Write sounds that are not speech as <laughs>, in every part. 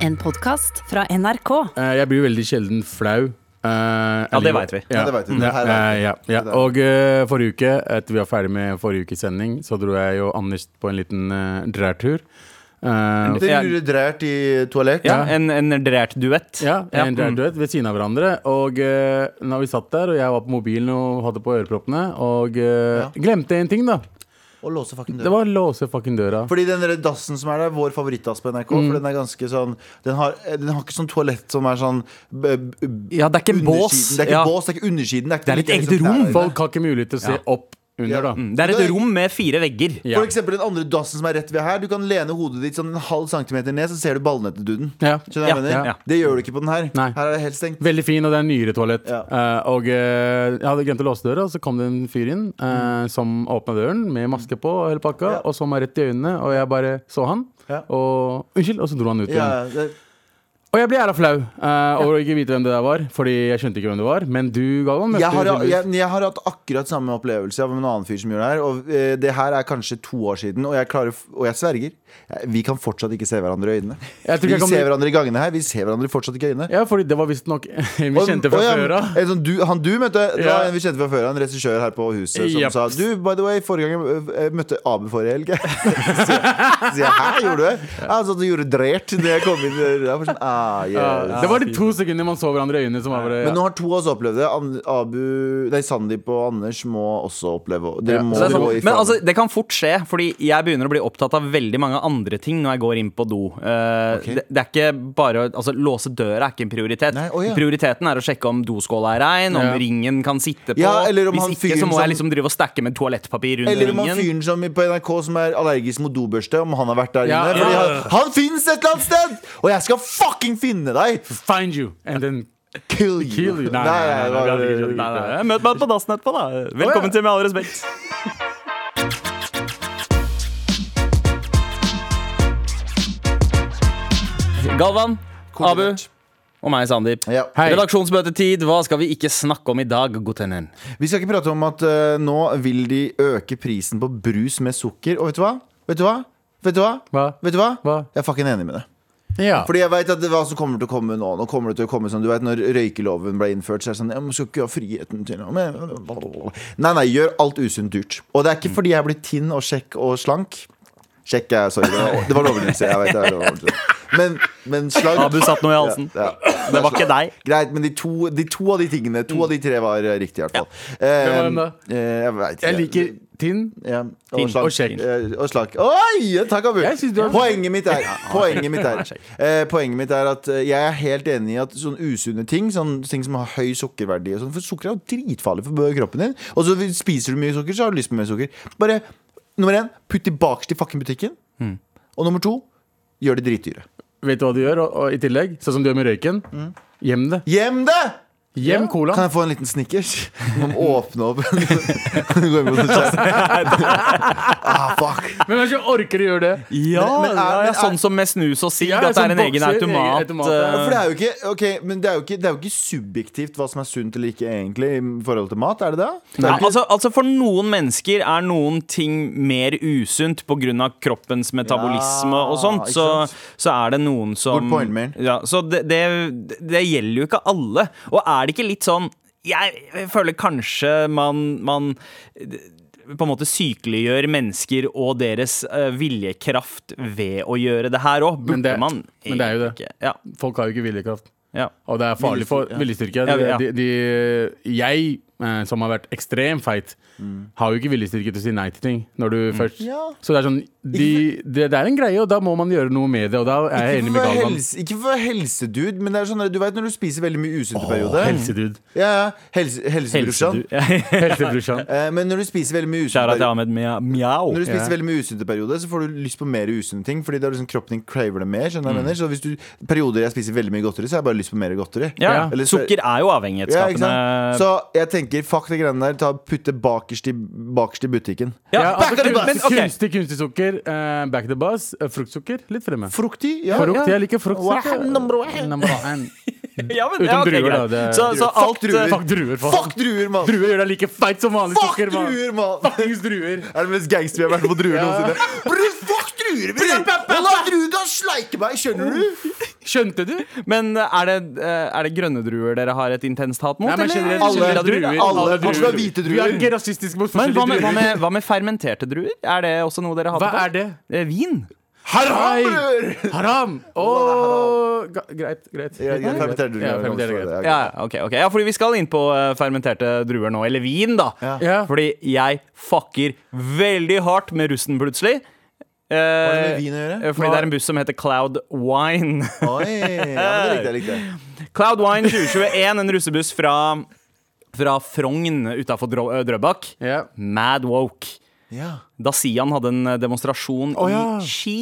En podkast fra NRK. Eh, Jeg blir veldig sjelden flau. ja, det vet vi. Ja, Ja, det vet vi. Det ja, her vet vi. ja, ja. Det der. Og eh, forrige uke, etter vi var ferdig med forrige ukes sending, så dro jeg og Anders på en liten uh, drærtur. Eh, Det er urydrert i toalett. Ja, en, en drert duett. ja, Ja, en mm. drærtur ved siden av hverandre. Og eh, når vi satt der, og jeg var på mobilen og hadde på øreproppene, og eh, Ja. glemte en ting, da. Og låse fucking Det døra. var å låse fucking døra. Fordi den der dassen som er der, vår favorittdass på NRK, Mm. for den er ganske sånn Den har, den har ikke sånn toalett som er sånn b- b- Ja, det er ikke en bås. undersiden. Det er ikke Ja. bås, det er ikke undersiden. Det er, ikke Det er et like- eget rom, der. Folk har ikke mulighet til å se opp under, Mm. da. Det er et rom med fire vegger. Ja. For eksempel den andre dassen som er rett ved her. Du kan lene hodet ditt sånn en halv centimeter ned, så ser du ballene til duden. Ja. Skjønner du hva jeg Ja, mener? ja. Det gjør du ikke på den her. Nei. Her er det helt stengt. Veldig fin, og det er nyere toalett. Ja. Eh, og eh, jeg hadde glemt å låse døra, og så kom det en fyr inn eh, som åpna døren med maske på og hele pakka, Mm. Ja. og så meg rett i øynene, og jeg bare så han. Ja. Og unnskyld, og så dro han ut Ja, igjen. det, Og jeg ble jævla flau eh, over å ikke vite hvem det der var, fordi jeg skjønte ikke hvem det var. Men du, Galvan, møtte jeg, har, tydeligvis- jeg, jeg har hatt akkurat samme opplevelse av en annen fyr som gjør det her. Og eh, det her er kanskje to år siden, og jeg, klarer, f- og jeg sverger. eh, Vi kan fortsatt ikke se hverandre i øynene. Jeg tror ikke Vi jeg kommer- ser hverandre i gangene her, vi ser hverandre fortsatt ikke i øynene. Ja, fordi det var visstnok <laughs> Vi Og- kjente fra og ja, før av. en sånn du, han du møtte, det Ja. var en vi kjente fra før av, en regissør her på huset, som Japp. sa Du, by the way, forrige gang jeg eh, møtte Abu forrige helg. <laughs> Så så jeg, hæ, gjorde du det? Ja, Han satt og gjorde drert da jeg kom inn døra. Jeg var Sånn, ah, yes. Det var de to sekundene man så hverandre i øynene som var bare Men nå har to av oss opplevd det. An- Abu, nei, Sandeep og Anders må også oppleve Dere Ja, må Så det, er gå sånn, i men faen. altså, det kan fort skje, fordi jeg begynner å bli opptatt av veldig mange andre ting når jeg går inn på do. Eh, Ok. det, det er ikke bare å- altså, Låse døra er ikke en prioritet. Nei, å ja. Prioriteten er å sjekke om doskåla er rein, om Ja. ringen kan sitte på. Ja, eller om han Hvis ikke, fyren så må jeg som- liksom drive og stakke med toalettpapir under Eller om han ringen. fyren som på NRK som er allergisk mot dobørste, om han har vært der Ja, inne. ja. Fordi han, han fins et eller annet sted! Og jeg skal fucking finne deg! Find you, and then Kill you. kill you. Nei, nei, nei, nei, vi hadde ikke skjønt det. Nei, nei, Møt meg på dassen etterpå, da. Velkommen til Med all respekt. Galvan, Abu og meg, Sandeep. Ja. Hei. Redaksjonsmøtetid. Hva skal vi ikke snakke om i dag, guttenen? Vi skal ikke prate om at eh, nå vil de øke prisen på brus med sukker. Og vet du hva? Vet du hva? Vet du hva? Hva? Vet du hva? Hva? Jeg er fucking enig med det. Ja. Fordi jeg vet at det er hva som kommer til å komme nå. Nå kommer det til å komme sånn, du vet, Når røykeloven ble innført, så er det sånn ja, men Skal ikke ha friheten til noe men- Nei, nei, gjør alt usunt dyrt. Og det Mm. er ikke fordi jeg er blitt tynn og kjekk og slank. Kjekk er sorry, det var- det var en overdrivelse. Jeg vet, det var en overdrivelse. Men, men slank Abu satt noe i halsen. ja, ja. Det var ikke deg. Greit, men de to, de to av de tingene To av de tre var eh, riktig, i hvert fall. Eh, Hvem var den da? eh, jeg vet ikke. Jeg liker tinn. Ja, Tinn. og slank. Og kjekk. Eh, Og slank. Oi! Takk, Abu. Jeg synes du er- Poenget mitt er Poenget mitt er, eh, poenget mitt er at eh, jeg er helt enig i at sånne usunne ting, sånne ting som har høy sukkerverdi og sånn, For sukker er jo dritfarlig for kroppen din. Og så spiser du mye sukker, så har du lyst på mer sukker. Bare nummer én, putt det bakerst i fucking butikken. Mm. Og nummer to, gjør det dritdyre. Vet du hva du gjør, og, og i tillegg? Sånn som du gjør med røyken. Mm. Gjem det. Gjem det! Gjem Kan colaen. jeg få en liten snickers? Du må åpne opp. <laughs> Kan du gå inn på <laughs> sånn skjerm? ah, fuck. Men hvem er det som orker å gjøre det? Ja, Men- men er- det men er er- sånn som med snus og sigg, Ja, at det sånn er en egen bokser, egen automat. automat, ja. eh, Ja, For det er jo ikke, ok, men det er jo ikke, det er jo ikke subjektivt hva som er sunt eller ikke egentlig i forhold til mat, er det det? Ja, altså, altså For noen mennesker er noen ting mer usunt pga. kroppens metabolisme Ja, og sånt. ikke Så, sant? så er det noen som Good point, man. ja, Så det, det, det gjelder jo ikke alle. Og er det ikke litt sånn Jeg føler kanskje man, man på en måte sykeliggjør mennesker og deres eh, viljekraft ved å gjøre det her òg. Men Burde det- man men det er jo det. egentlig ikke? Ja, Folk har jo ikke viljekraft. ja. <laughs> Og det er farlig for viljestyrke. Ja, ja. De, de, de, jeg, eh, som har vært ekstremt feit, har jo ikke viljestyrke til å si nei til ting. Når du først Ja. Så det er sånn de, det, det er en greie, og da må man gjøre noe med det. Og da er jeg enig Ikke for, med å være Galvan. helse, ikke for å være helsedude, men det er sånn at du vet når du spiser veldig mye usunt i periode. Helsedude. Ja, ja, helse, helsebrorsan. Helsebrorsan. Eh, Men når du spiser veldig mye usunt i Kjære til periode Ahmed Mia- Mjau. når du spiser Ja. veldig mye usunt i periode, så får du lyst på mer usunne ting. Fordi det er liksom kroppen din craver det mer. skjønner du Mm. hva jeg mener? Så hvis du perioder jeg spiser veldig mye godteri, så har jeg bare lyst på mer godteri. Ja, Ja. Eller så- Sukker er jo Ja, ikke avhengighetsskapende. sant? Så jeg tenker, fuck de greiene der. Ta, putt det bakerst i, bakerst i butikken. Ja, Ja, altså, back to the kun- bus. Men, ok. Kunstig kunstig sukker, eh, back the bus, eh, fruktsukker litt fremme. Fruktig? Ja, Frukt, ja. Jeg liker frukt. Wow, number one. Number one. <laughs> Ja, men, Uten ja, ok, druer, greit. da, det er- så, så Fuck alt druer. eh, Fuck druer, faen. Fuck druer, mann! Druer gjør deg like feit som vanlig Fuck sukker, mann. druer, mann! Fuckings druer. Er det mest gangster vi har vært på druer noensinne? Bror, fuck druer, bror! Og la druer da sleike meg, skjønner du? Skjønte du? Men eh, er det, eh, er det grønne druer dere har et intenst hat mot? Nei, men eller? generelt, Alle- generelt druer, alle- altså, det er hvite Du er druer. ikke rasistisk mot Men hva forskjellige med, hva, druer. med, hva med fermenterte druer? Er det også noe dere Hva hater på? er det? Eh, Vin? Haram! bror! Haram! Åh, ga- greit, greit. Ja, ja, fermenterte druer. Ja, fermenterte druer. Ja, Ja, ja, ok, ok. ja, fordi vi skal inn på eh, fermenterte druer nå. Eller vin, da. Ja. Ja. Fordi jeg fucker veldig hardt med russen plutselig. Eh, Hva er det med vin å gjøre? eh, Fordi det er en buss som heter Cloud Wine. Oi, ja, men det likte jeg. likte jeg. Cloud Wine 2021, en russebuss fra, fra Frogn utafor Drøbak. Ja. Mad woke. Ja. Da Sian hadde en eh, demonstrasjon Å, ja. i Ski,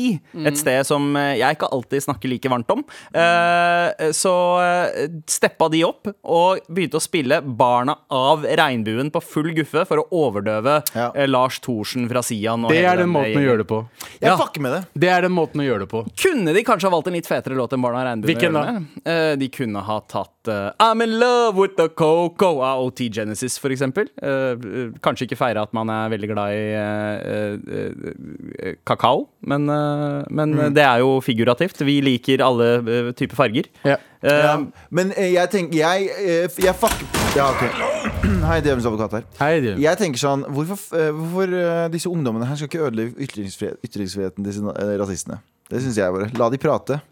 et sted som eh, jeg ikke alltid snakker like varmt om, eh, så eh, steppa de opp og begynte å spille 'Barna av regnbuen' på full guffe for å overdøve Ja. eh, Lars Thorsen fra Sian. Og Det hele er den den måten å gjengen. gjøre det på. Jeg Ja. fucker med det. Det er den måten å gjøre det på. Kunne de kanskje ha valgt en litt fetere låt enn 'Barna av regnbuen'? å Hvilken gjøre da? det med? Eh, de kunne ha tatt eh, 'I'm in love with the coco' av OT Genesis, for eksempel. Eh, eh, kanskje ikke feire at man er veldig glad i eh, eh, eh, kakao, men, eh, men Mm. eh, det er jo figurativt. Vi liker alle eh, typer farger. Ja. Eh, Ja. Men eh, jeg tenker Jeg, eh, f- jeg fucker ja, ok. <clears throat> Hei, Djevelens advokat her. Hei, du. Jeg tenker sånn Hvorfor, f- eh, hvorfor eh, disse ungdommene her skal ikke ødelegge ytringsfrihet, ytringsfriheten til sine, eh, rasistene? Det syns jeg bare. La de prate.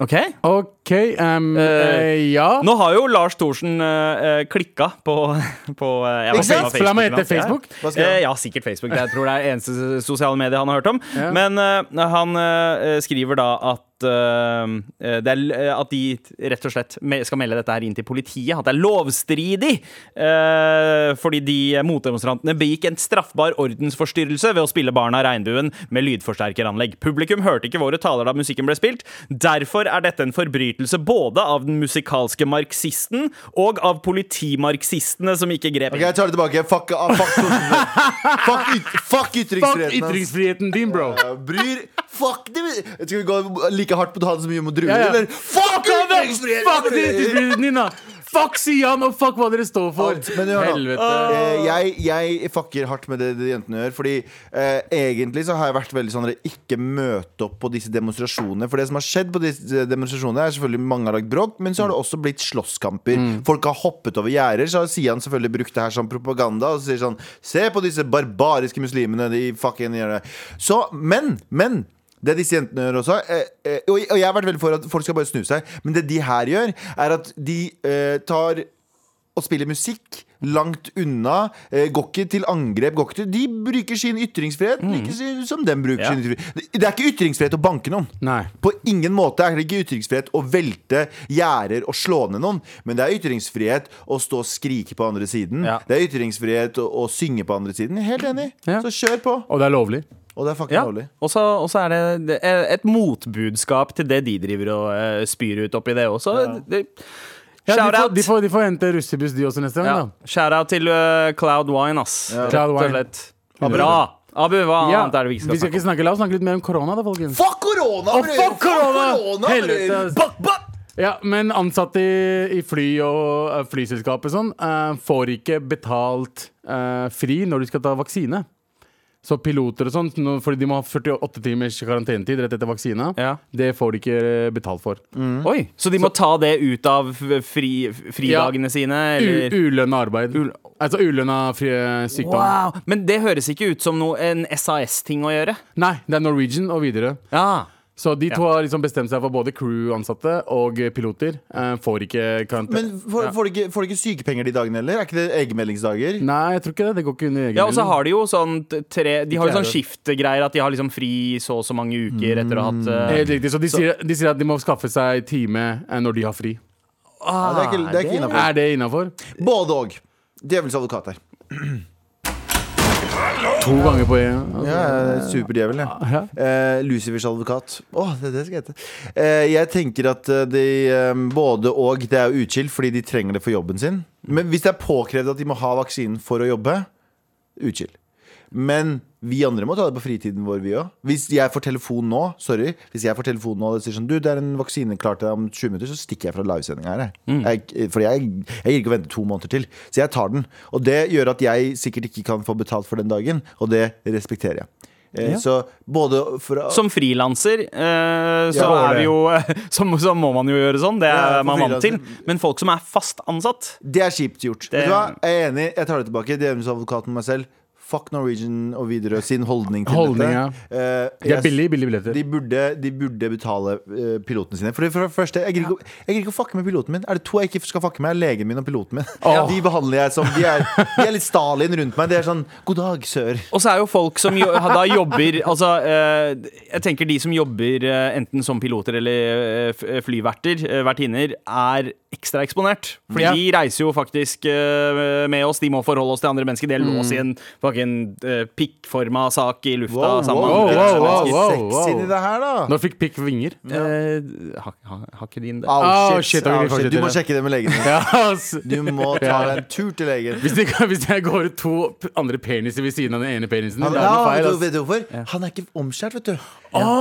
OK. OK um, Eh, eh, Ja. Nå har jo Lars Thorsen uh, klikka på, <laughs> på eh, jeg var Ikke sant? på Facebook, Skal han hete men- Facebook? Ja. Hva skal han? Eh, ja, sikkert Facebook. Det jeg tror det er eneste sosiale mediet han har hørt om. Ja. Men eh, han eh, skriver da at eh, det er, eh, at de rett og slett me- skal melde dette her inn til politiet. At det er lovstridig! eh, fordi de motdemonstrantene begikk en straffbar ordensforstyrrelse ved å spille Barna Regnbuen med lydforsterkeranlegg. Publikum hørte ikke våre taler da musikken ble spilt. Derfor er dette en forbrytelse både av den musikalske marxisten og av politimarxistene som ikke grep Ok, inn. Jeg tar det tilbake. Fuck, ah, fuck, Thorsen. fuck, yt fuck Fuck ytringsfriheten. ass. ytringsfriheten din, bro. Ja, Bryr Fuck det Skal vi gå like hardt på han som vi gjør mot druer, Ja, ja. eller? Fuck Fuck han, da! ytringsfriheten! Fuck ytringsfriheten din, da! Fuck Sian, og fuck hva dere står for! Alt, men hør nå. Helvete. Eh, jeg, jeg fucker hardt med det de jentene gjør. Fordi eh, egentlig så har jeg vært veldig sånn dere, Ikke møte opp på disse demonstrasjonene. For det som har skjedd på disse demonstrasjonene, er selvfølgelig mange har lagt bråk, men så har det også blitt slåsskamper. Mm. Folk har hoppet over gjerder. Så har Sian selvfølgelig brukt det her som propaganda og sier sånn Se på disse barbariske muslimene, de fucking gjør det. Så, men, men det disse jentene gjør også eh, eh, og, og jeg har vært veldig for at folk skal bare snu seg, men det de her gjør, er at de eh, tar og spiller musikk langt unna. eh, Går ikke til angrep. Går ikke til, de bruker sin ytringsfrihet Mm. like sin- som den bruker Ja. sin ytringsfrihet. Det- Det er ikke ytringsfrihet å banke noen. Nei. På ingen måte er det ikke ytringsfrihet å velte gjerder og slå ned noen. Men det er ytringsfrihet å stå og skrike på andre siden. Ja. Det er ytringsfrihet å, å synge på andre siden. Helt enig. Ja. Så kjør på. Og det er lovlig. Og det er fucking Ja, lovlig. og så og så er det- det er et motbudskap til det de driver og eh, spyr ut oppi det også. Det, Ja, de, shout får, out! de, får, de får hente russebuss, de også, neste ja, gang. da shout out til eh, Cloud Wine, ass. Rett Cloud og Wine. slett. Bra! Abu, hva Ja, annet er det vi ikke skal snakke om? La oss snakke litt mer om korona, da, folkens. Fuck korona! Å, bror! fuck korona! bror! Helvete, altså. ass. Bak, bak! Ja, Men ansatte i, i fly og eh, flyselskap og sånn eh, får ikke betalt eh, fri når de skal ta vaksine. Så piloter og sånn, nå- fordi de må ha 48 timers karantenetid rett etter vaksina, Ja. Mm, det får de ikke eh, betalt for. Oi, så de må ta det ut av fri, fridagene sine? Eller? U- Ulønna arbeid. altså ulønna fri sykdom. Wow! Men det høres ikke ut som noe, en SAS-ting å gjøre. Nei, det er Norwegian og videre. Ja, Så de to har liksom bestemt seg for både crew-ansatte og eh, piloter. Eh, får ikke karantene. Men får, får, de ikke, får de ikke sykepenger de dagene heller? Er ikke det egenmeldingsdager? Nei, jeg tror ikke det. Det går ikke under egen ja og så melding. har de jo sånn t- tre De har jo Ikke sånn jeg skiftgreier at de har liksom fri i så og så mange uker etter å ha hatt eh, Helt riktig. Så de sier, de sier at de må skaffe seg time eh, når de har fri. Ja, det er ikke, det er ikke innenfor. Er det innafor? Både og. Djevelens advokat her. To ganger på én. Ja, jeg er superdjevel, jeg. Ja. Eh, Lucifers advokat. Å, det er det det skal hete. Eh, jeg tenker at eh, de eh, både og Det er jo uchill, fordi de trenger det for jobben sin. Men hvis det er påkrevd at de må ha vaksinen for å jobbe, uchill. Men vi andre må ta det på fritiden vår, vi òg. Hvis jeg får telefon nå, sorry Hvis jeg får telefon nå og det sier sånn Du, det er en vaksine klar til deg om 20 minutter, så stikker jeg fra livesendinga her. jeg. Mm. Jeg, for jeg, jeg gir ikke å vente to måneder til. Så jeg tar den. Og det gjør at jeg sikkert ikke kan få betalt for den dagen, og det respekterer jeg. Eh, Så både for å Som frilanser eh, så Ja, er det. vi jo <laughs> så, så må man jo gjøre sånn. Det Ja, er for man vant til. frilanser. Men folk som er fast ansatt Det er kjipt gjort. Vet du hva? Jeg er enig. Jeg tar det tilbake. Djevelsadvokaten meg selv. Fuck Norwegian og Widerøe sin holdning til Holdning, dette. Eh, De er jeg- billige, billige billetter. De burde, de burde betale eh, pilotene sine. For det, for det første, jeg gidder ikke, å- jeg gidder ikke å fucke med piloten min. Er det to jeg ikke skal fucke med, er legen min og piloten min. Åh. De behandler jeg som de er, de er litt Stalin rundt meg. De er sånn 'God dag, sør'. Og så er jo folk som jo, da jobber Altså, eh, jeg tenker de som jobber eh, enten som piloter eller eh, f- flyverter, eh, vertinner, er ekstra eksponert. Fordi Ja. de reiser jo faktisk eh, med oss. De må forholde oss til andre mennesker. De er Mm. låst i en fucking eh, pikkforma sak i lufta sammen med wow, andre wow, wow, mennesker. wow. Sex inni det her, da. Nå fikk pikk vinger. Eh, har- har har ikke din det? Au, Au, Ah, shit, da vil vi faktisk Du gjøre må det. sjekke det med legen. din. Ja, ass. Du må <laughs> ta deg en tur til legen. Hvis, det, hvis jeg går ut to p- andre peniser ved siden av den ene penisen, Han, det er noe ja, feil. altså. vet du- ass. vet du hvorfor? Han er ikke omskjært, vet du.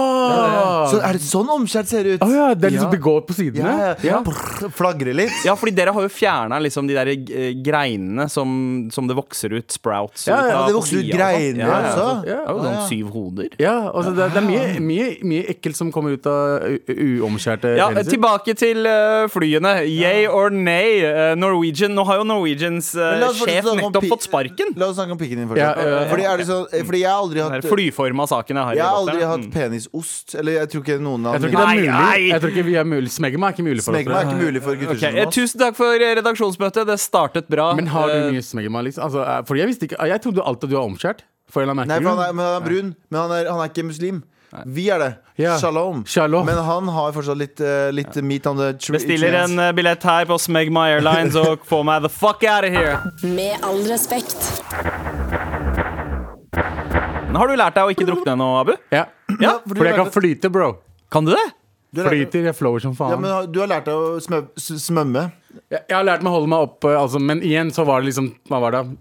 Åh! Så er det sånn omskjært ser ut? Ah. Å ja, det er liksom det går på sidene? Ja, Ja. ja. Brr, Flagrer litt. Ja, fordi dere har jo fjerna liksom de der eh, greinene som, som det vokser ut sprouts Ja, ja, fra det på vokser ut siden og sånn. greiner Ja, ja, også. så- Det er jo sånn syv hoder. Ja, altså det, det er mye, mye, mye ekkelt som kommer ut av u- u- uomskjærte Ja, peniser. tilbake til eh, flyene. Yay or nay? Eh, Norwegian Nå har jo Norwegians eh, Men la oss fortsette sjef å snakke om nettopp pi- fått sparken. La oss snakke om pikken din fortsatt. Ja, ja, ja. Fordi, er det sånn- fordi jeg har aldri Den hatt der flyforma saken jeg har. i Jeg har datteren. aldri hatt Mm. penisost. Eller jeg tror ikke noen av Jeg tror ikke det er Nei, mulig. nei! Jeg tror ikke vi er mulig. Smegma er ikke mulig for Smegma oss. er ikke mulig for gutter Ok, eh, som oss. tusen takk for eh, redaksjonsmøtet. Det startet bra. Men har Eh, du mye smegma, liksom? Altså, eh, fordi jeg visste ikke Jeg trodde alltid du var omskjært. For en eller annen Nei, for han merkelig er, men han er brun, men han er, han er ikke muslim. Vi er det. Ja. Shalom. Shalom. Men han har fortsatt litt, eh, litt meat on the tr- Bestiller chins. en eh, billett her på Smegma Airlines <laughs> og få meg the fuck out of here. Med all respekt. Men har du lært deg å ikke drukne ennå, Abu? grunn. Ja. Ja, eh, Fordi jeg kan du, flyte, bro. Kan du det? har lært- Flyter, jeg flower som ja, faen. men har- du har lært deg å smø, s- smømme. Jeg, jeg har lært meg å holde meg oppe, altså, men igjen så var det liksom Hva var det?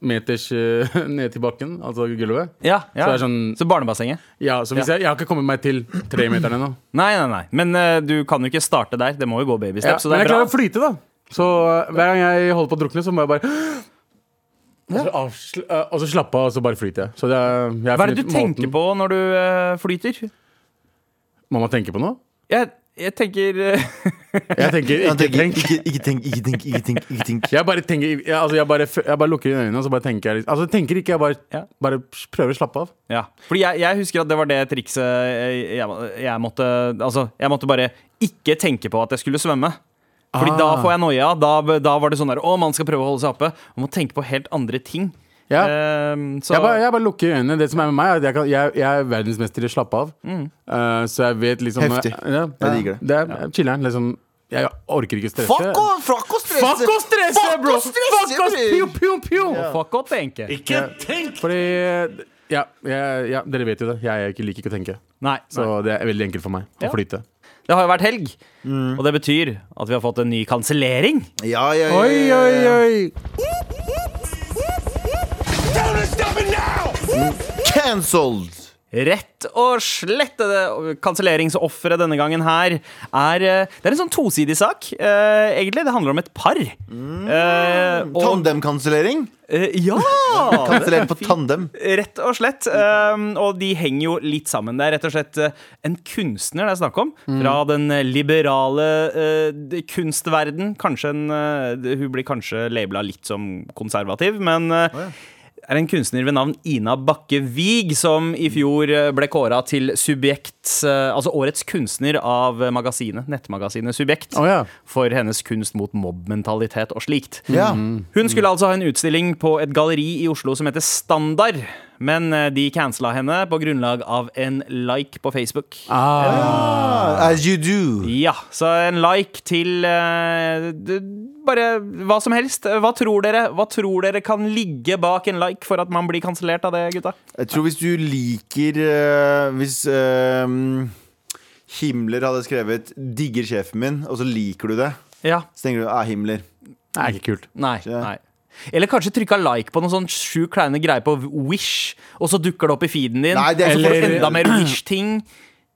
Meters eh, <laughs> ned til bakken, altså gulvet. Ja, ja. Så det er sånn- så barnebassenget? Ja, så hvis Jeg, jeg har ikke kommet meg til tremeteren ennå. Nei, nei, nei. Men eh, du kan jo ikke starte der. Det må jo gå Ja, babysteps. så men det jeg er bra. klarer å flyte, da. Så eh, hver gang jeg holder på å drukne, så må jeg bare <gasps> og, så avsl eh, og så slappe av, og så bare flyter jeg. Så det er, jeg har Hva er det funnet du tenker måten- på når du eh, flyter? Må man tenke på noe? Jeg, jeg tenker <laughs> eh, Jeg <laughs> tenker Han ikke tenker, tenk. Ikke, ikke tenk, ikke tenk, ikke tenk. Ikke tenk. Jeg bare tenker jeg, altså, jeg, bare, f- jeg bare lukker inn øynene og så bare tenker jeg litt- Altså jeg tenker ikke, jeg bare, Ja. bare prøver å slappe av. Ja, fordi jeg, jeg husker at det var det trikset jeg, jeg, jeg måtte Altså, jeg måtte bare ikke tenke på at jeg skulle svømme. Fordi da Ah. får jeg noia. Da, da var det sånn der Å, man skal prøve å holde seg oppe. Man må tenke på helt andre ting. Ja. Ehm, så Jeg bare, jeg bare lukker øynene. Det som er med meg, er at jeg, kan, jeg, jeg er verdensmester i å slappe av. Eh, så jeg vet liksom Heftig. Ja, Jeg digger det. det er jeg chiller'n. Liksom, jeg orker ikke stresse. Fuck å fuck å stresse! Fuck å stresse, Fuck å bro! stresse, Fuck oss, bro! pjo, pjo, pjo! fuck opp, egentlig. Ikke tenk! Fordi ja, jeg- ja, dere vet jo det. Jeg er ikke- liker ikke å tenke. Nei, Så det er veldig enkelt for meg å Ja. flyte. Det har jo vært helg, og det betyr at vi har fått en ny kansellering. Ja, ja, ja, ja, Oi, ja, oi, ja. oi! Don't stop it now! Cancelled! Rett og slett eh, kanselleringsofferet denne gangen her er eh, Det er en sånn tosidig sak, eh, egentlig. Det handler om et par. Eh, og- Tandemkansellering. eh, ja! Kansellering på tandem. Rett og slett. eh, og de henger jo litt sammen. Det er rett og slett eh, en kunstner det er snakk om. Mm. Fra den eh, liberale eh, de- kunstverden. Kanskje en eh, de- Hun blir kanskje labela litt som konservativ, men eh, er en kunstner ved navn Ina Bakke Wiig, som i fjor eh, ble kåra til Subjekts, eh, altså årets kunstner av eh, magasinet, nettmagasinet Subjekt, Å ja. for hennes kunst mot mobbmentalitet og slikt. Ja. Hun skulle altså ha en utstilling på et galleri i Oslo som heter Standard, men eh, de cancela henne på grunnlag av en like på Facebook. Ah, As you do. Ja, så en like til eh, d- bare hva som helst. Hva tror dere Hva tror dere kan ligge bak en like for at man blir kansellert av det, gutta? Jeg tror hvis du liker eh, Hvis eh, Himmler hadde skrevet 'digger sjefen min', og så liker du det, Ja, så tenker du 'ah, Himmler'. det er ikke kult. Nei. Ja. nei. Eller kanskje trykka like på noen sånn sju kleine greier på Wish, og så dukker det opp i feeden din. Nei, det er så eller forferdelig. enda mer Wish-ting.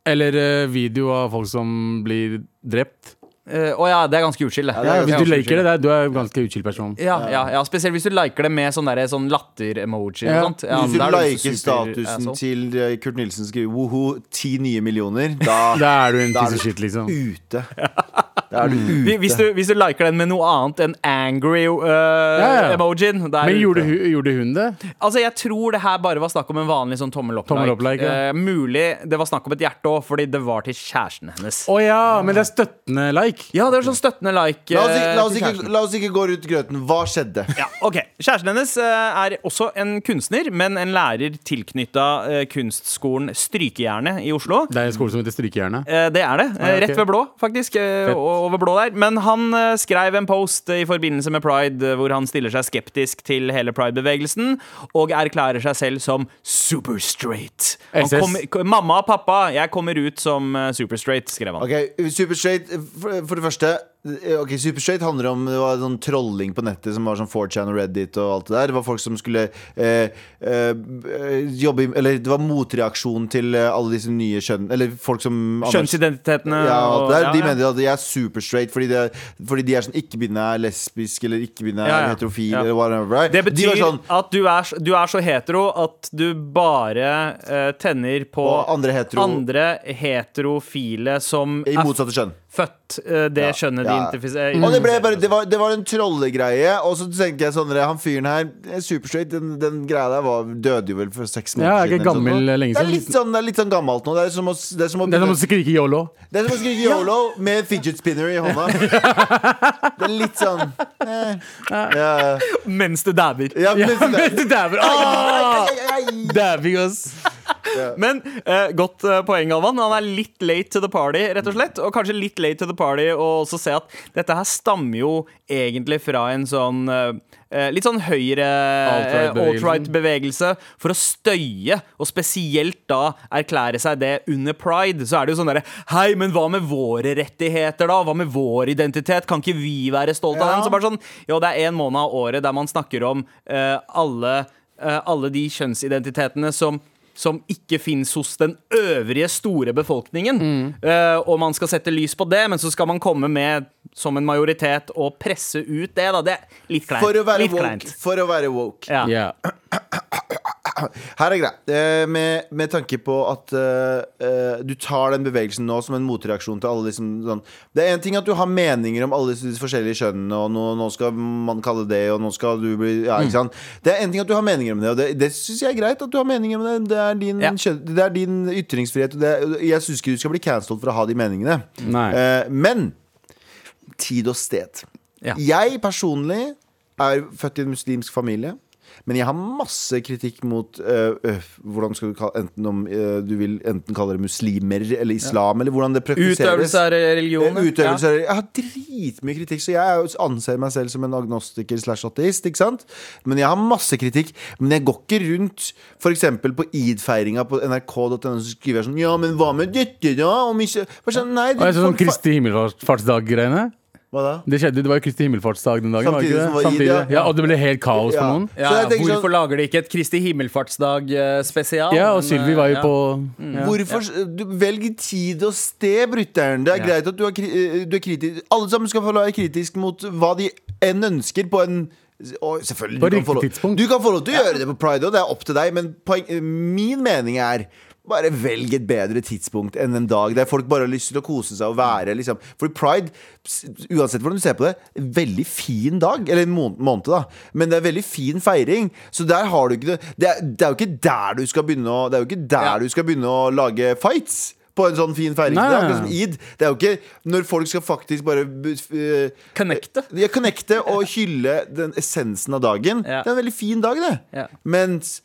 Eller eh, video av folk som blir drept. Eh, Å ja, det er ganske utskilt. det er Hvis ganske du liker det, det er, du er en ganske uchill person. Ja, ja, ja, spesielt hvis du liker det med sånn, derre- sånn latter-emoji. Ja. og sånt. Ja, Hvis du da er du liker super sånn. statusen asshole. til eh, Kurt Nilsen skriver woho, ti nye millioner, da, Da er du en da piece of shit, liksom. ute. Da er du Hvis- ute. hvis, du, hvis du liker den med noe annet enn angry uh, ja. emojien da er Men du gjorde, ute. hu- gjorde hun det? Altså, jeg tror det her bare var snakk om en vanlig sånn tommel opp-like. Tommel opp-like, ja. Eh, mulig det var snakk om et hjerte òg, fordi det var til kjæresten hennes. Å ja, men det er støttende like. Ja, det var sånn støttende like. La oss, eh, ikke, la, oss til ikke, kjæresten. la oss ikke gå rundt grøten. Hva skjedde? Ja, ok Kjæresten hennes eh, er også en kunstner, men en lærer tilknytta eh, kunstskolen Strykejernet i Oslo. Det er en skole som heter Strykejernet. Eh, Det er det. Ah, Eh, ja, ok. Rett ved blå, faktisk. eh, Fett. o- Over blå der. Men han eh, skrev en post eh, i forbindelse med pride eh, hvor han stiller seg skeptisk til hele pridebevegelsen og erklærer seg selv som super straight. Han SS. kom, k- mamma og pappa, jeg kommer ut som eh, super straight, skrev han. Ok, Superstraight for, for det første eh, Ok, Superstraight handler om Det var sånn trolling på nettet som var sånn 4chan og Reddit og alt det der. Det var folk som skulle eh, eh, jobbe i Eller det var motreaksjon til eh, alle disse nye kjønn... Eller folk som Kjønnsidentitetene Ja, og alt og- det der. ja, De ja. mener at de er superstraight fordi, det- fordi de er sånn ikke-binær lesbisk eller ikke-binær Ja, ja. heterofil Ja. eller whatever. right? Det de betyr var sånn at du er, s- du er så hetero at du bare eh, tenner på Og andre hetero- andre heterofile som I er motsatte kjønn. født eh, det skjønnet Ja. de eh, Mm. identifiserer Og det, ble bare, det, var, det var en trollegreie. Og så tenker jeg sånn dere, Han fyren her, eh, superstraight, den, den greia der var, døde jo vel for seks måneder Ja, er ikke eller noe gammel eh, sånt. lenge Det er siden. litt sånn, det er litt sånn gammelt nå. Det er som å, det er som å, Det er som å skrike yolo. det er som å skrike yolo med fidget spinner i <laughs> hånda. Det er litt sånn eh, ja. Mens du dabber. Ja, men, <laughs> Men du dæver. Ah! Ai, ai, ai. Dæving, ass. Men eh, godt eh, poeng, Galvan. Han er litt late to the party, rett og slett. Og kanskje litt late to the party å også se at dette her stammer jo egentlig fra en sånn eh, eh, Litt sånn høyre eh, Alt-right-bevegelsen. alt-right-bevegelse for å støye, og spesielt da erklære seg det under pride. Så er det jo sånn derre Hei, men hva med våre rettigheter, da? Hva med vår identitet? Kan ikke vi være stolte av den? Så bare sånn Jo, det er en måned av året der man snakker om eh, alle, eh, alle de kjønnsidentitetene som som ikke fins hos den øvrige store befolkningen. Mm. Eh, og man skal sette lys på det, men så skal man komme med som en majoritet og presse ut det. da Det er litt kleint. For å være litt kleint. woke. For å være woke. Ja. Ja. Her er greia. Eh, med, med tanke på at eh, eh, du tar den bevegelsen nå som en motreaksjon til alle liksom, sånn. Det er én ting at du har meninger om alle disse disse forskjellige kjønnene, og nå, nå skal man kalle det, og nå skal du bli ja, ikke sant? Det er én ting at du har meninger om det, og det, det syns jeg er greit at du har meninger om det. Det er din, Ja. kjønn- det er din ytringsfrihet, og det, jeg syns ikke du skal bli cancelled for å ha de meningene. Mm. Nei. Eh, men tid og sted. Ja. Jeg personlig er født i en muslimsk familie. Men jeg har masse kritikk mot øh, øh, hvordan skal du kalle, enten om øh, du vil enten kalle det muslimer eller islam, eller hvordan det praktiseres. Utøvelse av religion. Eh, Utøvelse av- Jeg har dritmye kritikk, så jeg er jo- anser meg selv som en agnostiker slash ateist. Ikke sant? Men jeg har masse kritikk. Men jeg går ikke rundt f.eks. på id-feiringa på nrk.no så skriver jeg sånn Ja, men hva med dette, da? Om ikke Bare sånn, nei, Og jeg så sånn folk fa- Kristi himmelfartsdag-greiene. Hva da? Det skjedde, det var jo Kristi himmelfartsdag den dagen. var det Samtidig ikke som det? var id, Samtidig. ja. Ja, Og det ble helt kaos for Ja. noen. Så jeg tenker sånn- hvorfor lager de ikke et Kristi eh, himmelfartsdag-spesial? Ja, og eh, Sylvi eh, var jo på Mm. ja. Hvorfor du, Velg tid og sted, brytteren. Det er Ja. greit at du er, kri- eh, du er kritisk. Alle sammen skal få være kritisk mot hva de enn ønsker på en og selvfølgelig, På du kan, riktig få lov, tidspunkt. du kan få lov til å gjøre det på pride, og det er opp til deg, men poeng, eh, min mening er bare velg et bedre tidspunkt enn en dag der folk bare har lyst til å kose seg og være. Liksom. For pride, s- uansett hvordan du ser på det, en veldig fin dag. Eller en måned, måned, da. Men det er en veldig fin feiring. Så der har du ikke det. Det er, det er jo ikke der du skal begynne å, Det er jo ikke der Ja. du skal begynne å lage fights. På en sånn fin feiring. Det er Nei. akkurat som id. Det er jo ikke når folk skal faktisk bare eh, Connecte. ja, connecte og hylle den essensen av dagen. Ja. Det er en veldig fin dag, det. Ja. Mens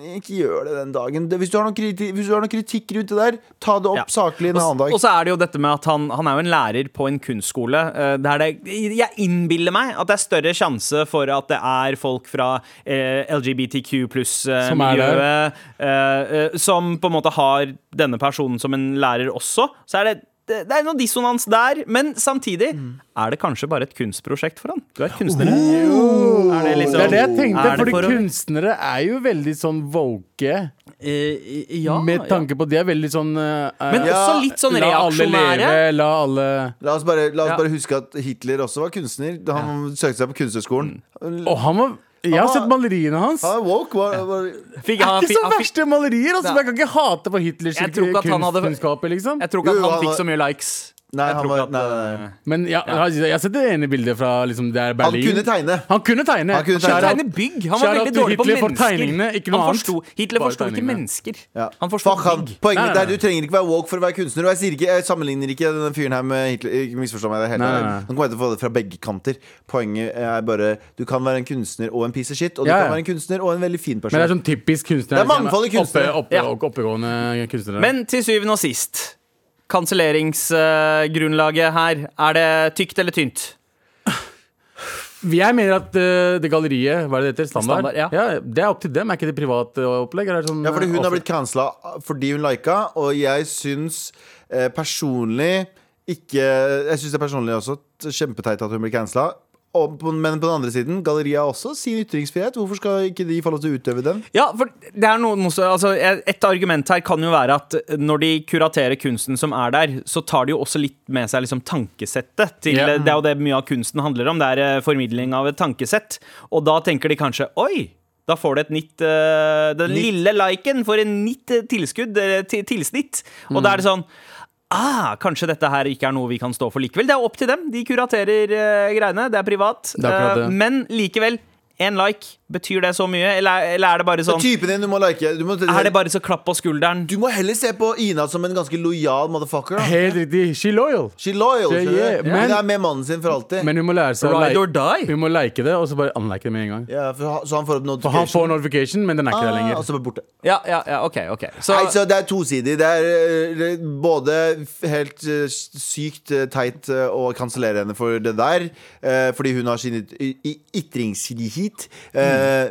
ikke gjør det den dagen. Det- Hvis du har noen kritikk, hvis du har noen kritikk rundt det der, ta det opp Ja. saklig en Og s- annen dag. Og så er det jo dette med at han, han er jo en lærer på en kunstskole. eh, der det, jeg innbiller meg at det er større sjanse for at det er folk fra eh, LGBTQ eh, Som er der. pluss-miljøet eh, som på en måte har denne personen som en lærer også. Så er det det det er noe dissonans der, men samtidig er det kanskje bare et kunstprosjekt for han. Du er kunstner. Er det, Oh! liksom, Det er det jeg tenkte, er det fordi for å- kunstnere er jo veldig sånn woke. Eh, ja, Med ja. tanke på De er veldig sånn eh, Men eh, også litt sånn La alle reaksjonære. leve, la alle La oss, bare, la oss Ja. bare huske at Hitler også var kunstner. Han søkte seg på Kunsthøgskolen. Å, han var Jeg har var- sett maleriene hans. Han var woke. Var, var, Fikk Det han- er ikke fikk- så han fikk- verste malerier! Altså, Nei. men jeg kan ikke hate på Hitlers Jeg tror ikke at han hadde- kunstkunnskaper, liksom. Jeg tror ikke Jo, at jo, han han fikk var- så mye likes. nei, Jeg han tror var, ikke nei, at, nei, nei. Men jeg, jeg, jeg har sett det ene bildet fra liksom, det er Han Berlin. kunne tegne. Han kunne tegne. Han kunne Han tegne. tegne bygg. Han var Shout out veldig til dårlig på Hitler for mennesker. tegningene, ikke noe han annet. forsto, Hitler Bare forsto ikke tegningene. mennesker. Ja. Han forsto Fuck han. bygg. Poenget Nei, mitt nei, er du trenger ikke være woke for å være kunstner. Og jeg, sier ikke, jeg sammenligner ikke denne fyren her med Hitler. Ikke misforstå meg. Det er helt Nei, ærlig. nei, nei. Han kommer til å få det fra begge kanter. Poenget er bare du kan være en kunstner og en piece of shit. Og du Ja, ja. kan være en kunstner og en veldig fin person. Men det er sånn typisk kunstner. Det er mangfoldig kunstnere. Oppe, oppe, Ja. og Oppegående kunstnere. Men til syvende og sist, kanselleringsgrunnlaget her, er det tykt eller tynt? jeg mener at eh, det galleriet, hva er det det heter? Standard? Standard, ja. det er opp til dem, er ikke det privat eh, opplegg? eller er det Sånn, Ja, fordi hun eh, har blitt cancela fordi hun lika, og jeg syns eh, personlig ikke Jeg syns det er personlig også t- kjempeteit at hun blir cancela. Og på- Men på den andre siden, galleriet har også sin ytringsfrihet. Hvorfor skal ikke de få lov til å utøve den? Ja, for det er noe, noe så- altså, Et argument her kan jo være at eh, når de kuraterer kunsten som er der, så tar de jo også litt med seg liksom, tankesettet. Til, Ja. Det er jo det mye av kunsten handler om. Det er eh, formidling av et tankesett. Og da tenker de kanskje Oi! Da får du et nytt eh, Den lille liken får en nytt eh, tilskudd, eh, ti- tilsnitt. Og da Mm. er det sånn Ah, kanskje dette her ikke er noe vi kan stå for likevel. Det er opp til dem. De kuraterer eh, greiene. Det er privat. er akkurat Eh, det. men likevel, én like. Betyr det så mye, eller, eller er det bare Det er sånn typen din du må like. Du må, er det bare så klapp på skulderen? du må heller se på Ina som en ganske lojal motherfucker. Da. Helt riktig. She loyal. She loyal. Yeah, skjønner du? yeah, men- Hun er med mannen sin for alltid. Men hun må lære seg å Ride or like, die? hun må like det, og så bare unlike det med en gang. ja, for, ha- så han får opp For han får notification. notification, men den er ikke der Ah, og lenger. så bare borte. Ja, ja, ja, ok, ok Så, Nei, så det er tosidig. Det er eh, både f- helt eh, sykt eh, teit eh, å kansellere henne for det der, eh, fordi hun har sin yt- y- y- ytringsfrihet, eh,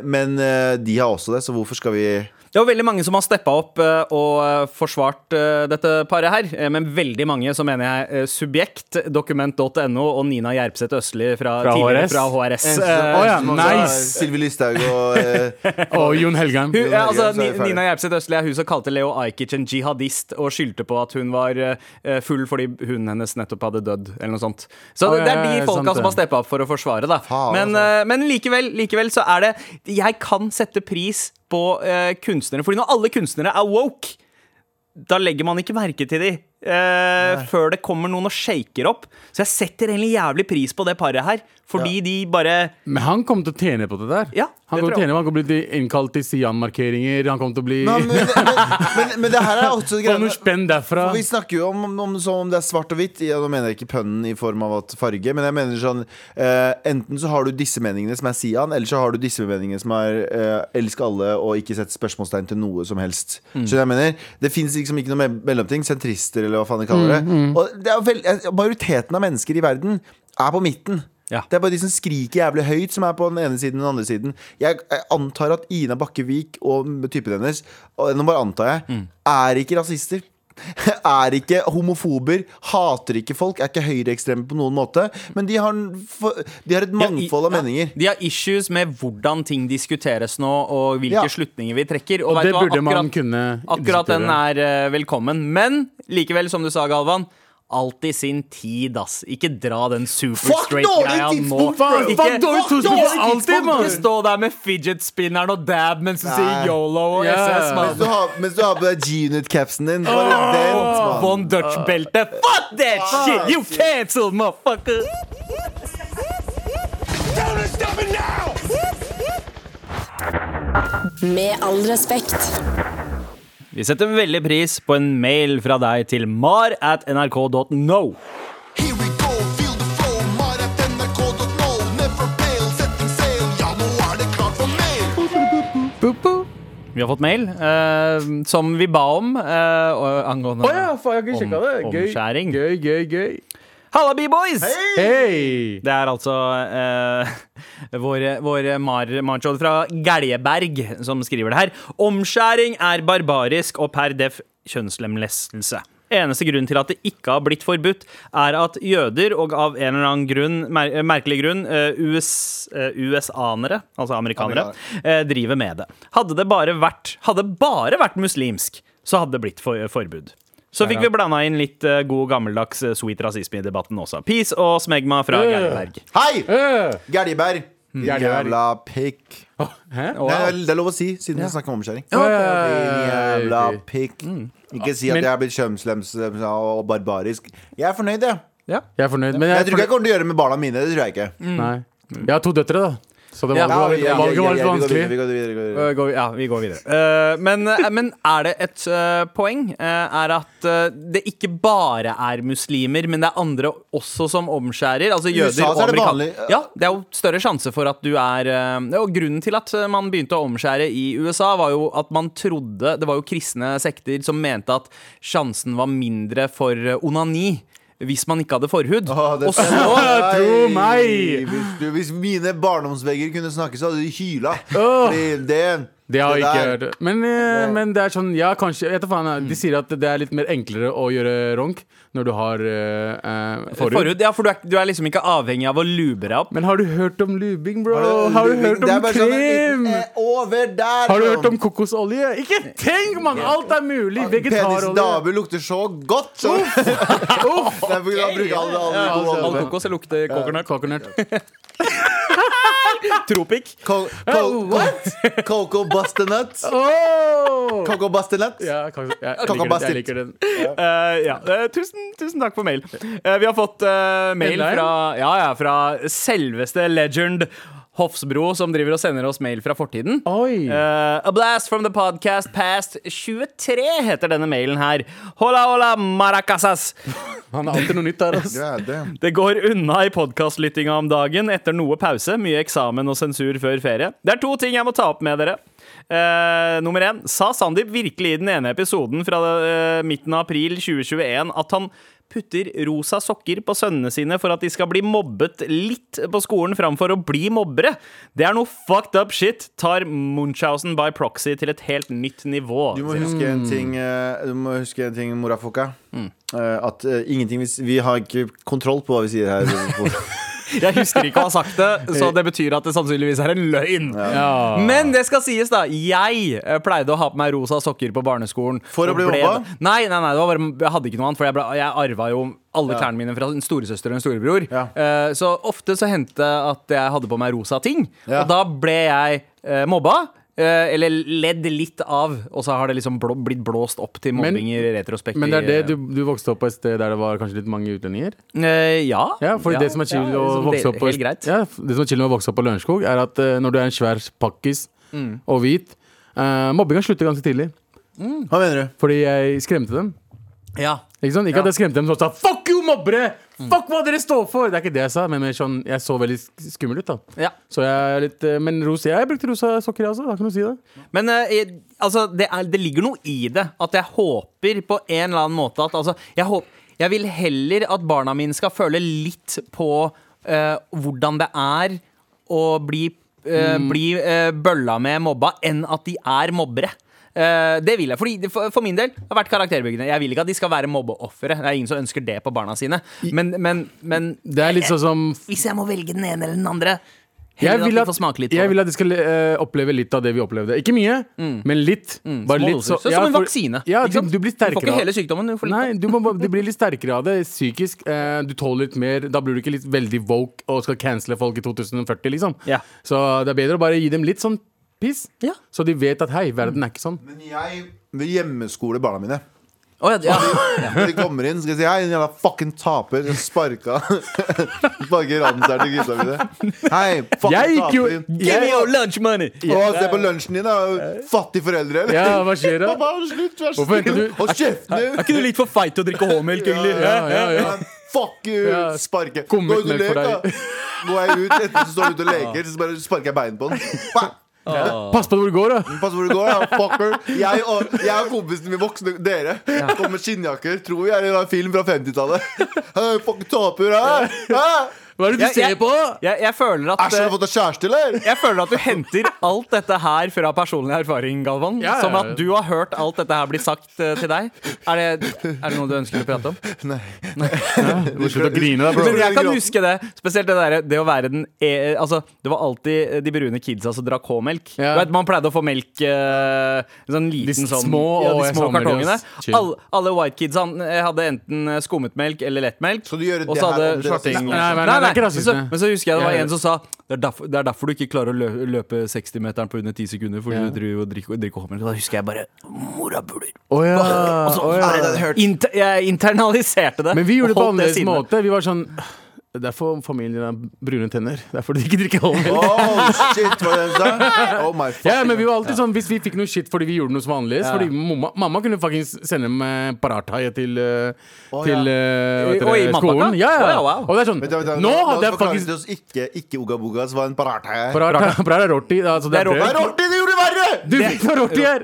Mm. men eh, de har også det, så hvorfor skal vi Det var veldig mange som har steppa opp eh, og eh, forsvart eh, dette paret her. eh, Men veldig mange, så mener jeg eh, Subjekt, dokument.no og Nina Gjerpseth Østli fra, Fra tidligere HRS? fra HRS. Eneste- Eh, Å ja, eneste som også er nice. Sylvi Listhaug og eh, <laughs> Og Jon Helgheim. Hun, ja, altså, så er vi Ni- ferdig. Nina Gjerpseth Østli er hun som kalte Leo Ajkic en jihadist, og skyldte på at hun var eh, full fordi hunden hennes nettopp hadde dødd, eller noe sånt. Å, Så det er ja, ja, de folka sant det. som har steppa opp for å forsvare, da. Faen, men, altså. eh, men likevel, likevel så er det Jeg kan sette pris på eh, kunstnere, fordi når alle kunstnere er woke, da legger man ikke merke til de. eh, før det kommer noen og shaker opp. Så jeg setter egentlig jævlig pris på det paret her, fordi de bare Men han kommer til å tjene på det der. Ja, han kommer det tror til å jeg. tjene, han kommer til å bli innkalt til Sian-markeringer. Han kommer til å bli men, men, men, men, men det her er også Få noe greiene spenn derfra. For Vi snakker jo om, om, om, som om det er svart og hvitt. Ja, nå mener jeg ikke pønnen i form av at farge, men jeg mener sånn eh, Enten så har du disse meningene som er Sian, eller så har du disse meningene som er eh, elsk alle og ikke sett spørsmålstegn til noe som helst. Skjønner du hva jeg mener? Det fins liksom ikke noe me mellomting. Sentrister, eller hva faen de kaller det. Og det er vel, eh, majoriteten av mennesker i verden er på midten. Ja. Det er bare de som skriker jævlig høyt, som er på den ene siden og den andre siden. Jeg, jeg antar at Ina Bakkevik og typen hennes, og nå bare antar jeg, Mm. er ikke rasister. <laughs> Er ikke homofober, hater ikke folk, er ikke høyreekstreme på noen måte. Men de har, en for- de har et Ja, i- mangfold av ja, meninger. De har issues med hvordan ting diskuteres nå, og hvilke Ja. slutninger vi trekker. Og, vet Det du hva? burde man Akkurat- kunne Akkurat den diskutere. er eh, velkommen. Men likevel, som du sa, Galvan. Alt i sin tid, ass. Ikke dra den Fuck superstraight-greia dårlig nå. tidspunkt! Faen, Ikke- faen, dårlig Fuck, tidspunkt dårlig for alltid, tidspunkt! mann! Ikke stå der med fidget-spinneren og dab mens du Nei. sier yolo og Ja. SS, Mens du mann. har, mens du har på deg G-unit-capsen din. Bare vent, mann. Von Dutch-beltet. Fuck that shit! You cancelled, motherfucker! Tell them to stop it now! Med all respekt. Vi setter veldig pris på en mail fra deg til mar at nrk.no. Here we go, feel the flow. Mar at nrk.no. Never fail, setting sail. Ja, nå er det klart for mail. Vi har fått mail eh, som vi ba om eh, og angående Å ja, faen, jeg har ikke sjekka det. Om- Gøy, omskjæring. gøy, gøy. gøy. Halla, B-boys! Hei! Det er altså eh, <laughs> vår, vår Mar Marchod fra Geljeberg som skriver det her. Omskjæring er barbarisk og per def kjønnslemlestelse. Eneste grunn til at det ikke har blitt forbudt, er at jøder, og av en eller annen grunn, mer merkelig grunn, eh, US, eh, USA-nere, altså amerikanere, eh, driver med det. Hadde det bare vært, hadde det bare vært muslimsk, så hadde det blitt for, forbud. Så fikk vi blanda inn litt eh, god, gammeldags eh, sweet rasisme i debatten også. Peace og smegma fra Øh. Gjerdeberg. Hei! Øh! Gerdibær. Gjerdeberg. Jævla pikk. Hæ? Nei, det er- det er lov å si, siden vi snakker om omskjæring. Din Jævla Oi. pikk. Ikke si at Mm. Men- jeg er blitt kjønnslemslemsa og barbarisk. Jeg er fornøyd, jeg. Ja. Jeg er fornøyd. Men jeg, Jeg tror ikke jeg kommer til å gjøre det med barna mine. Det tror jeg ikke. Nei. Jeg har to døtre, da. Så det Ja, var- det var litt- Ja, valget ja, ja, var litt ja, vi går videre, vi vanskelig. går videre, vi går videre. Øh, går vi, ja, vi går videre. Eh, men, eh, men er det et eh, poeng? eh, er at eh, det ikke bare er muslimer, men det er andre også som omskjærer? Altså I USA jøder og så er det amerikanere. vanlig, Ja, det er jo større sjanse for at du er eh, Og grunnen til at man begynte å omskjære i USA, var jo at man trodde Det var jo kristne sekter som mente at sjansen var mindre for eh, onani. Hvis man ikke hadde forhud. Å, det- og så Åh, tro meg! Hvis, du, hvis mine barndomsvegger kunne snakke, så hadde de hyla. Fordi det Det har jeg ikke der- hørt. Men, eh, men det er sånn, ja, kanskje jeg vet da faen, De sier at det er litt mer enklere å gjøre ronk når du har eh, eh, forhud. <laughs> forhud. Ja, for du er, du er liksom ikke avhengig av å lube deg opp. Men har du hørt om lubing, bro? Har du- Har du hørt Det er om bare sånn en liten, krem? eh, Over der! Har du hørt om kokosolje? Ikke tenk, mann! Alt er mulig. Penis Vegetarolje. damer lukter så godt! Så. <laughs> det er på grunn av å bruke alle, alle, Ja, gode altså, All alle. kokos lukter coconut. Coconut. Tropic. Co- co- <laughs> Coco Bustanut. Åh! Coco Bustanut. Ja, kak- jeg, jeg, liker den, Kakabastit. jeg liker den. Eh, ja. eh, tusen, tusen takk for mail. Eh, vi har fått eh, mail Headline? fra, ja, ja, fra selveste legend Hofsbro, som driver og sender oss mail fra fortiden. Oi! Eh, A blast from the podcast past 23 heter denne mailen her. Hola, hola, maracasas! Han har alltid noe nytt der, ass. Ja, det- Det går unna i podkastlyttinga om dagen etter noe pause. Mye eksamen og sensur før ferie. Det er to ting jeg må ta opp med dere. Eh, nummer én. Sa Sandeep virkelig i den ene episoden fra eh, midten av april 2021 at han putter rosa sokker på sønnene sine for at de skal bli mobbet litt på skolen framfor å bli mobbere? Det er noe fucked up shit. Tar Munchausen by proxy til et helt nytt nivå. Du må huske en ting, eh, Du må huske en ting, morafoka. Mm. Eh, At eh, ingenting hvis, Vi har ikke kontroll på hva <laughs> vi sier her. Jeg husker ikke å ha sagt det, så det betyr at det sannsynligvis er en løgn. Ja. Men det skal sies, da. Jeg eh, pleide å ha på meg rosa sokker på barneskolen. For å og bli ble- mobba? Nei, nei, nei, det var bare, jeg hadde ikke noe annet, for jeg, ble, jeg arva jo alle klærne mine fra en storesøster og en storebror. Ja. Eh, så ofte så hendte det at jeg hadde på meg rosa ting, Ja. og da ble jeg eh, mobba. eh, eller ledd litt av, og så har det liksom blå, blitt blåst opp til Men- mobbing i retrospekt. Men det er det i- du, du vokste opp på et sted der det var kanskje litt mange utlendinger? Eh, ja. Ja, for det som er chill ja, å liksom vokse det- opp på Helt greit. Ja, Det som er chill med å vokse opp på Lørenskog, er at eh, når du er en svær pakkis Mm. og hvit uh, Mobbinga slutter ganske tidlig, Hva mener du? fordi jeg skremte dem. Ja. Ikke sant? Ikke at jeg skremte dem sånn sa, 'fuck you, mobbere'! Fuck hva dere står for! Det er ikke det jeg sa, men mer sånn, jeg så veldig sk- skummel ut, da. Ja. Så jeg er litt eh, Men rosa, jeg brukte rosa sokker, jeg også. Det har ikke noe å si, det. Men eh, jeg, altså, det, er, det ligger noe i det. At jeg håper på en eller annen måte at altså, jeg, håp, jeg vil heller at barna mine skal føle litt på eh, hvordan det er å bli, eh, bli eh, bølla med mobba, enn at de er mobbere. Eh, det vil jeg, fordi det- for, for min del det har vært karakterbyggende. Jeg vil ikke at de skal være mobbeofre. Det er ingen som ønsker det på barna sine. Men, men, men Det er litt sånn som hvis jeg må velge den ene eller den andre jeg Heller vil, at at, de får smake litt på jeg det. Mm. vil at de skal eh, oppleve litt av det vi opplevde. Ikke mye, men litt. Bare Små litt doser. Så, som en for- vaksine. Ja, ikke du, sant? du blir sterkere. Du får ikke av- hele sykdommen. Du får litt Nei, du, må, bare- du blir litt sterkere av det psykisk. Eh, du tåler litt mer. Da blir du ikke litt veldig woke og skal cancele folk i 2040, liksom. Ja. Så det er bedre å bare gi dem litt sånn piss, Ja. så de vet at hei, verden er ikke sånn. Men jeg vil hjemmeskole barna mine. Å, ja, ja. Når de kommer inn, skal jeg si Hei, din jævla fucking taper. Jeg sparka <laughs> Sparker ranseren til gutta mine. Hei, Jeg fucking gikk jo- taper. Give me your lunch money! Å, se på lunsjen din, da. Fattige foreldre, eller? Ja, hva skjer da? <laughs> Pappa, slutt, vær Hvorfor snill. henter du- Hold kjeft Er nå. ikke du litt for feit til å drikke H-melk, egentlig? Ja, ja, ja. Fuck you! Ja, Sparke. kom Gå ut ut og med lek, for da. deg. Går jeg ut etter så står du ute og leker, så bare sparker jeg beinet på den. Bang! Pass på hvor du går, da. Pass hvor du går, da, fucker. Jeg og, jeg og kompisene mine voksne, dere, kommer med skinnjakker. Tror vi er i en film fra 50-tallet. Hey, fucking taper, hæ? Hæ? Hva er det du Jeg- ser jeg- på? Jeg, jeg, føler at, Æsj, har du eh, fått deg kjæreste, eller? jeg føler at du henter alt dette her fra personlig erfaring, Galvan. Ja, ja, ja. Som at du har hørt alt dette her bli sagt eh, til deg. Er det, er det noe du ønsker å prate om? Slutt å grine, da, Men bro. jeg kan huske det. Spesielt det derre det å være den e Altså, det var alltid de brune kidsa som drakk K-melk. Ja. Du vet, Man pleide å få melk eh, en sånn liten De sånn små, ja, og de jeg små savner de, kartongene. ass. Chill. Alle, alle white kidsa eh, hadde enten skummetmelk eller lettmelk. Skal du gjøre og det så her hadde om det rasisme svarting- også? Nei, nei, nei, det er ikke rasisme. Men, så, men så husker jeg det var Ja, ja. en som sa det er, derfor, det er derfor du ikke klarer å lø løpe 60-meteren på under 10 sekunder. Fordi Ja. du driver og drikker, drikker K-melk. Og Da husker jeg bare morapuler. Å ja. Altså, å ja. Inter jeg internaliserte det. Men vi gjorde det på og holdt annerledes sinnet. måte. Vi var sånn Det er for familien har brune tenner. Det er fordi de ikke drikker <laughs> alkohol. Oh, shit, hva er det den sa? Oh my fucking Ja, men vi var alltid sånn Hvis vi fikk noe shit fordi vi gjorde noe som var annerledes Fordi mamma, mamma kunne faktisk sende med parathaie til, eh, til eh, hva heter Oi, det, i matpakka? skolen. Ja, ja. Wow, wow. Og det er sånn Vent, vent, vent, Nå la oss hadde jeg forklare faktisk til oss Ikke, ikke Uga Bugas var en paratha. Parathaie er rorti. Altså, det er Det er brød. rorti. Rorti, det gjorde det verre! Du fikk noe rorti her!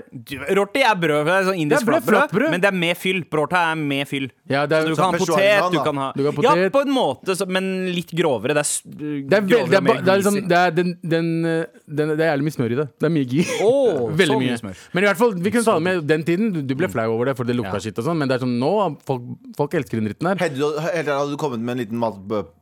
Rorti er brød, det er sånn indisk Det er brød, flatbrød, flatbrød. men det er med fyll. Rorta er med fyll. Ja, det er- så du kan ha Sånn potet, Peshawar-naan, du da. kan ha Du kan ha Ja, potet. på en måte, så, men litt grovere. Det er, s- Det er, vel, grovere det er, og ba- mer det er, liksom, greasy. det er, den, den, eh, den, det er jævlig mye smør i det. Det er mye gir. Åh, <laughs> Veldig så mye mye. smør. Mm. Men i hvert fall, vi kunne ta det med den tiden. Du, du ble flau over det, for det lukta Ja. skitt og sånn. Men det er sånn nå Folk, folk elsker den dritten her. Hadde du, helt ærlig, hadde du kommet med en liten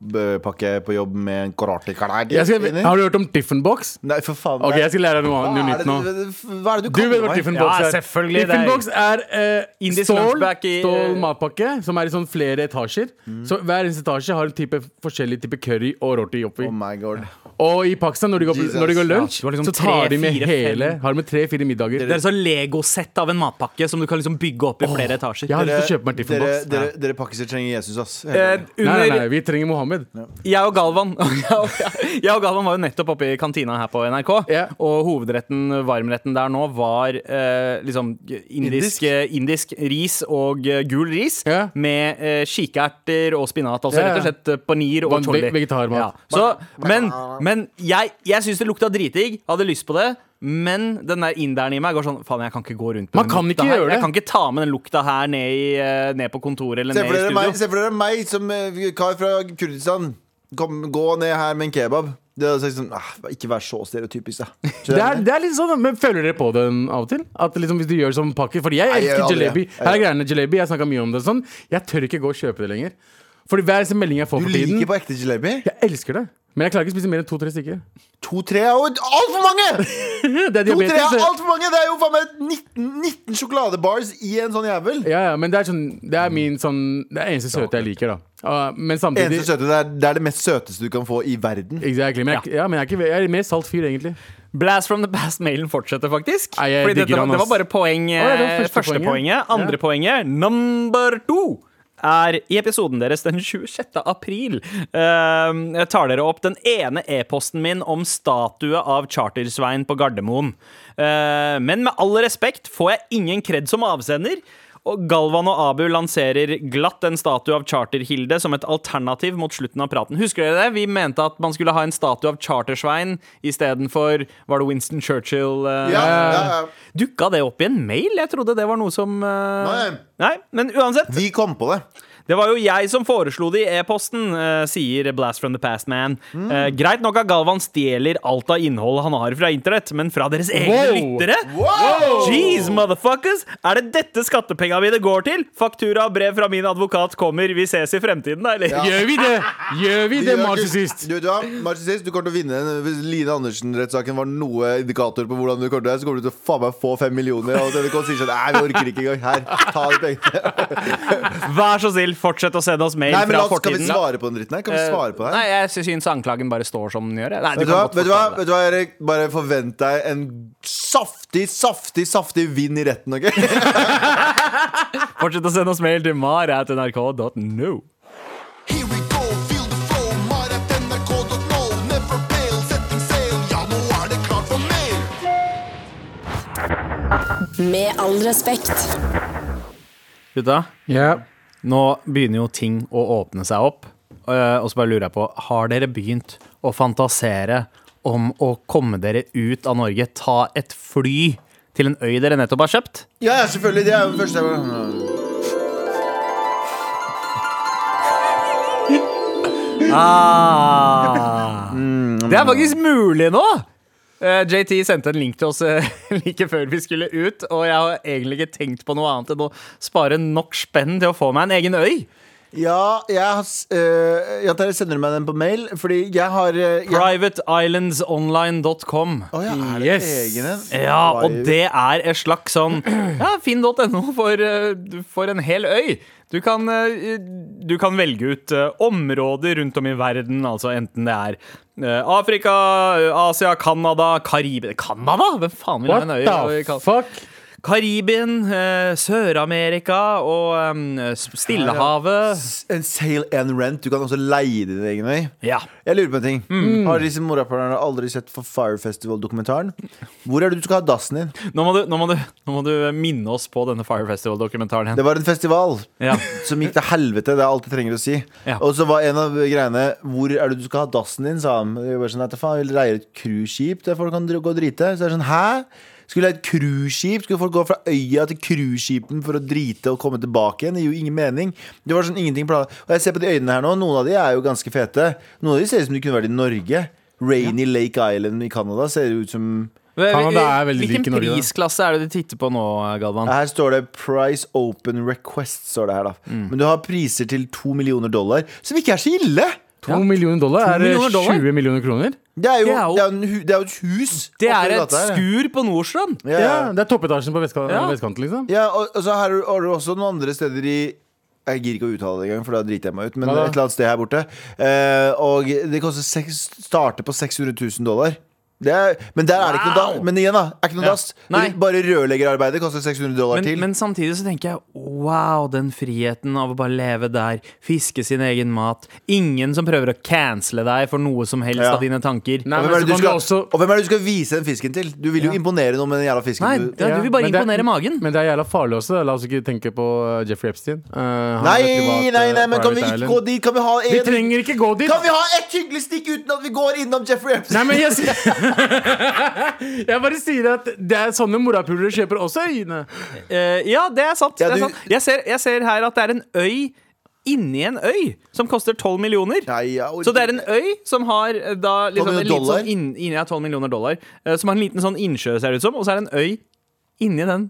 matpakke på jobb med en karate-kalær? Jeg skal, har du hørt om Tiffenbox? Nei, for faen. Ok, jeg skal lære deg noe, Hva annet- noe er nytt det nå. du- Hva er det du Du vet kaller hva meg? Tiffen Box Ja, er. selvfølgelig, det er- Tiffen Box er eh, Indisk stål, lunchback i- stål matpakke som er i sånn flere etasjer. Så hver eneste etasje har en type forskjellig type curry og rorti oppi. Oh my god. Og i Pakistan, når de går, Jesus. når de går lunsj, Ja, du har liksom så tar de tre, med fire, hele fem. Har de med tre-fire middager. Det er et sånn legosett av en matpakke som du kan liksom bygge opp i flere etasjer. Jeg har lyst til å Dere, kjøpe meg Tiffen dere, Box. dere, dere pakkiser trenger Jesus, ass. Helt Eh, ærlig. Nei, under nei, nei, vi trenger Mohammed. Jeg og Galvan <laughs> Jeg og Galvan var jo nettopp oppe i kantina her på NRK. Ja. Og hovedretten, varmretten der nå, var eh, liksom indisk, Indisk? eh, indisk ris og eh, gul ris Ja. med eh, kikerter og spinat. Altså Ja, ja. rett og slett eh, paneer og Van- choli. ve- vegetarmat. Så, men men jeg, jeg syns det lukta dritdigg. Hadde lyst på det. Men den der inderen i meg går sånn Faen, jeg kan ikke gå rundt med Man den kan lukta ikke her. gjøre det. Jeg kan ikke ta med den lukta her ned, i, eh, ned på kontoret eller Se ned for i dere studio. meg, se for dere meg som eh, kar fra Kurdistan. Kom, gå ned her med en kebab. Det hadde jeg sagt sånn, ah, Ikke vær så stereotypisk, da. <laughs> Skjønner Det er, du? det er litt sånn, men Føler dere på den av og til? At liksom hvis du gjør som pakker Fordi jeg Nei, jeg gjør elsker aldri jalebi. det. Jeg Her er gjør- greiene jalebi. Jeg snakket mye om det. og sånn Jeg tør ikke gå og kjøpe det lenger. Fordi hver eneste melding jeg får Du for tiden liker på ekte jalebi? Jeg elsker det. Men jeg klarer ikke å spise mer enn to-tre stykker. To-tre er jo altfor mange! Det er To-tre diabetes. er så- altfor mange! Det er jo faen meg 19, 19 sjokoladebars i en sånn jævel. Ja, ja, men det er sånn Det er min sånn Det er eneste søte jeg liker, da. Ah, men samtidig Eneste søte, det, er, det er det mest søteste du kan få i verden. Exactly. Men, jeg, ja, men jeg, er ikke, jeg er mer salt fyr, egentlig. Blast from the past-mailen fortsetter faktisk. Nei, jeg Fordi digger dette, var- han, det var ass. bare poeng eh, Å, ja, det var første første, poenget. poenget. Andre Ja. poenget, number two, er i episoden deres den 26. april eh, tar dere opp den ene e-posten min om statue av Chartersvein på Gardermoen. Eh, men med all respekt får jeg ingen kred som avsender. Og Galvan og Abu lanserer glatt en statue av Charterhilde som et alternativ mot slutten av praten. Husker dere det? Vi mente at man skulle ha en statue av Chartersvein istedenfor Var det Winston Churchill? eh, Ja, ja, ja. Dukka det opp i en mail? Jeg trodde det var noe som eh, Nei. Nei, men uansett. Vi kom på det. Det var jo jeg som foreslo det i e-posten, eh, sier Blast from the past man. Mm. Eh, greit nok at Galvan stjeler alt av innhold han har fra internett, men fra deres egne Wow. lyttere? Jeez, motherfuckers! Er det dette skattepenga mine går til? Faktura og brev fra min advokat kommer, vi ses i fremtiden, da, eller? Gjør vi det? Gjør vi det, Du- marsissist? Du, vet du, hva? Marsissist, du kommer til å vinne den. Hvis Line Andersen-rettssaken var noe indikator på hvordan du kommer til å være, så kommer du til å faen meg få fem millioner. Og NRK sier sånn Nei, vi orker ikke engang. Her, ta de pengene. <laughs> Vær så snill, fortsett å sende oss mail Nei, men fra la oss, Kan vi fortiden. Eh, svare på den dritten her? Kan vi svare på det Nei, her? jeg sy- syns anklagen bare står som den gjør. jeg. Nei, du Vet kan du, hva, godt vet, du hva, forklare det. vet du hva, Erik? Bare forvent deg en saftig, saftig, saftig vinn i retten, OK? <laughs> Fortsett å sende oss mail til mar.nrk.no. Here we go, feel the flow, mar at nrk.no. Never fail, setting sail, ja, nå er det klart for mer. Med all respekt. Gutta, Ja. nå begynner jo ting å åpne seg opp. Eh, Og så bare lurer jeg på, har dere begynt å fantasere om å komme dere ut av Norge? Ta et fly til en øy dere nettopp har kjøpt? Ja, ja, selvfølgelig. Det er jo den første jeg Ah. Det er faktisk mulig nå! Eh, JT sendte en link til oss eh, <laughs> like før vi skulle ut, og jeg har egentlig ikke tenkt på noe annet enn å spare nok spenn til å få meg en egen øy. Ja, jeg har s- øh, ja, dere sender meg den på mail, fordi jeg har øh, jeg, Privateislandsonline.com. Å ja, er det Yes. egen en? Ja, og det er en slags sånn ja, finn.no for, eh, for en hel øy. Du kan, eh, du kan velge ut eh, områder rundt om i verden, altså enten det er eh, Afrika, eh, Asia, Canada, Karibia Canada? Hvem faen vil ha What en øy? i the Kan- fuck? Karibien, eh, Sør-Amerika og eh, Stillehavet. S- En sale and rent. Du kan også leie din egen øy. Ja. Jeg lurer på en ting. Har disse morapulerne aldri sett for Fire Festival-dokumentaren? Hvor er det du skal ha dassen din? Nå må, du, nå, må du, nå må du eh, minne oss på denne Fire Festival-dokumentaren. Det var en festival Ja. som gikk til helvete. Det er alt jeg trenger å si. Ja. Og så var en av greiene Hvor er det du skal ha dassen din? sa han. Jeg bare sånn, «Nei, faen, vil reier et cruiseskip der folk kan dr- gå og drite? Så er det sånn, hæ? Skulle jeg ha et cruiseskip? Skulle folk gå fra øya til cruiseskipen for å drite og komme tilbake igjen? Det gir jo ingen mening. Det var sånn ingenting plan- Og jeg ser på de øynene her nå, noen av de er jo ganske fete. Noen av de ser ut som de kunne vært i Norge. Rainy Lake Island i Canada ser jo ut som Canada er veldig lik i Hvilken Norge, da. prisklasse er det du titter på nå, eh, Galvan? Her står det 'Price Open Request'. står det her da Mm. Men du har priser til to millioner dollar, som ikke er så ille! To millioner dollar? To Er det millioner dollar? 20 millioner kroner? Det er jo, Det er jo- det er jo, en hu- det er jo et hus. Det oppi er et gata her. skur på Nordstrand. Ja, Ja, ja. Det er toppetasjen på vestka- Ja. vestkanten, liksom. ja og, og så har du, har du også noen andre steder i jeg gir ikke å uttale det engang, for da driter jeg meg ut. Men Hva da? et eller annet sted her borte Eh, Og det koster seks, starter på 600 000 dollar. Det er, men der er det ikke noe Wow! da, Men igjen, da. Er ikke noe Ja. dass. Nei. Bare rørleggerarbeidet koster 600 dollar Men, til. men samtidig så tenker jeg wow, den friheten av å bare leve der, fiske sin egen mat. Ingen som prøver å cancele deg for noe som helst Ja. av dine tanker. Nei, men og, hvem så kan er det du du skal, også og hvem er det du skal vise den fisken til? Du vil jo imponere noen med den jævla fisken. Nei, du- ja, du vil bare men det- imponere magen. Men det er jævla farlig også. da. La oss ikke tenke på uh, Jeffrey Epstein. Uh, han Nei, er privat, nei, uh, nei, men kan vi private ikke island. gå dit? Kan vi ha Vi en trenger ikke gå dit! Kan vi ha ett hyggelig stikk uten at vi går innom Jeffrey Epstein? Nei, men jeg, sier- jeg bare sier <laughs> at det er sånne morapulere kjøper også øyene. Eh, ja, det er sant. Ja, det du- er sant. Jeg, ser, jeg ser her at det er en øy inni en øy som koster 12 millioner. Nei, jeg orker Så det er en øy som har eh, da liksom, en millioner liten dollar? sånn inn, inn, ja, 12 millioner dollar. eh, som har en liten sånn innsjø, ser det ut som. Og så er det en øy inni den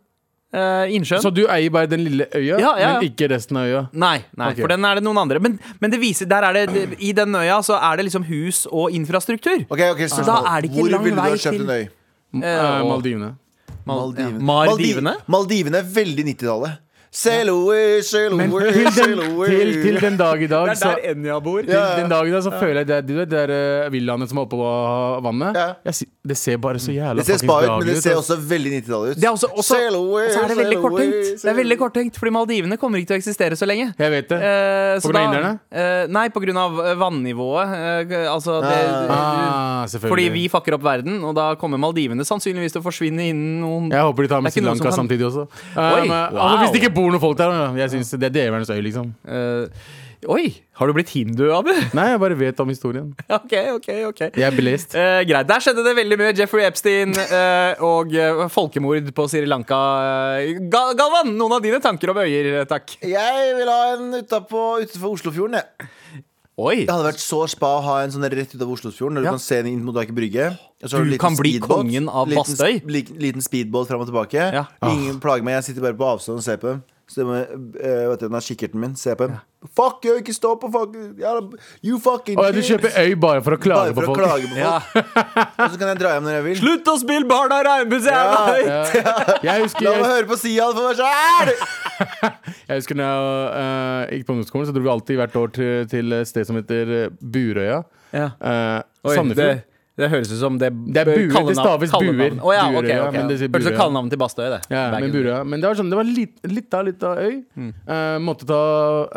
eh, innsjøen. Så du eier bare den lille øya, Ja, ja. men ikke resten av øya? Nei, nei Ok. for den er det noen andre. Men, men det viser, der er det, det, i den øya så er det liksom hus og infrastruktur. Ok, ok, spørsmål. Da er det ikke Hvor lang ville du ha vei kjøpt til- en øy? Eh, Maldivene. Maldivene. Maldivene? Maldi- Maldivene er veldig 90-tallet. Sail away, sail Men away, til den, sail away. til, til den dag i dag, så Enja bor. til den dag i dag så føler jeg det er de der eh, villaene som er oppå eh, vannet. Ja. Jeg, si- det ser bare så jævla det ser fucking spa ut, men daglig altså. det ser ass. også veldig 90-tallet ut. eh, Det er også, også Sail away, så er det veldig sail away, korttenkt. Det er sail- veldig korttenkt, Fordi Maldivene kommer ikke til å eksistere så lenge. Jeg vet det. Eh, så På grunn av da- inderne? Eh, nei, på grunn av eh, vannivået. Eh, altså det, Ah, Fordi selvfølgelig. vi fucker opp verden, og da kommer Maldivene sannsynligvis til å forsvinne innen noen Jeg håper de tar med Det er Sri ikke noen Lanka som kan- samtidig også. Oi, Um, wow. altså, hvis det ikke bor noen folk der. da. Jeg synes Det er djevelens øy, liksom. Eh, Oi! Har du blitt hindu, Abu? <laughs> Nei, jeg bare vet om historien. ok, ok, ok. Jeg er belest. Eh, greit, Der skjedde det veldig mye. Jeffrey Epstein eh, og eh, folkemord på Sri Lanka. Eh, Ga- Galvan, noen av dine tanker om øyer, eh, takk. Jeg vil ha en utapå, utenfor Oslofjorden, jeg. Oi, Det hadde vært så spa å ha en sånn rett utenfor Oslofjorden, der Ja. du kan se den inn mot Aker Brygge. og så har Du en liten kan bli speedbåt, kongen av liten, Bastøy. sp- li- Liten speedbåt fram og tilbake. Ja. Ingen plager meg, jeg sitter bare på avstand og ser på dem. Så det må, eh, vet du, den er kikkerten min, ser på dem. Fuck you, ikke stå på fuck you, jævla- You fucking Og du kjøper øy bare for å klage Bare for på å folk. klage på folk. Og så kan jeg dra hjem når jeg vil. Slutt å spille Barna Reimhus! jævla høyt! <laughs> Jeg husker, La meg jeg, høre på Sian for meg sjæl! jeg husker når jeg eh, gikk på ungdomsskolen, så dro vi alltid hvert år til, til et sted som heter eh, Burøya. Ja. Eh, Oi, Sandefjord. Det, det høres ut som det Det er buer, det kallenavn- staves kallenavn. buer. Å ja, ok, Buer, ja, ok. men det sier Hørtes ut buer, som ja. kallenavnet til Bastøy, det. Ja, men, Bergen. Mm. Burøya. men det var sånn, det var litt, litt av litt av øy. Eh, måtte ta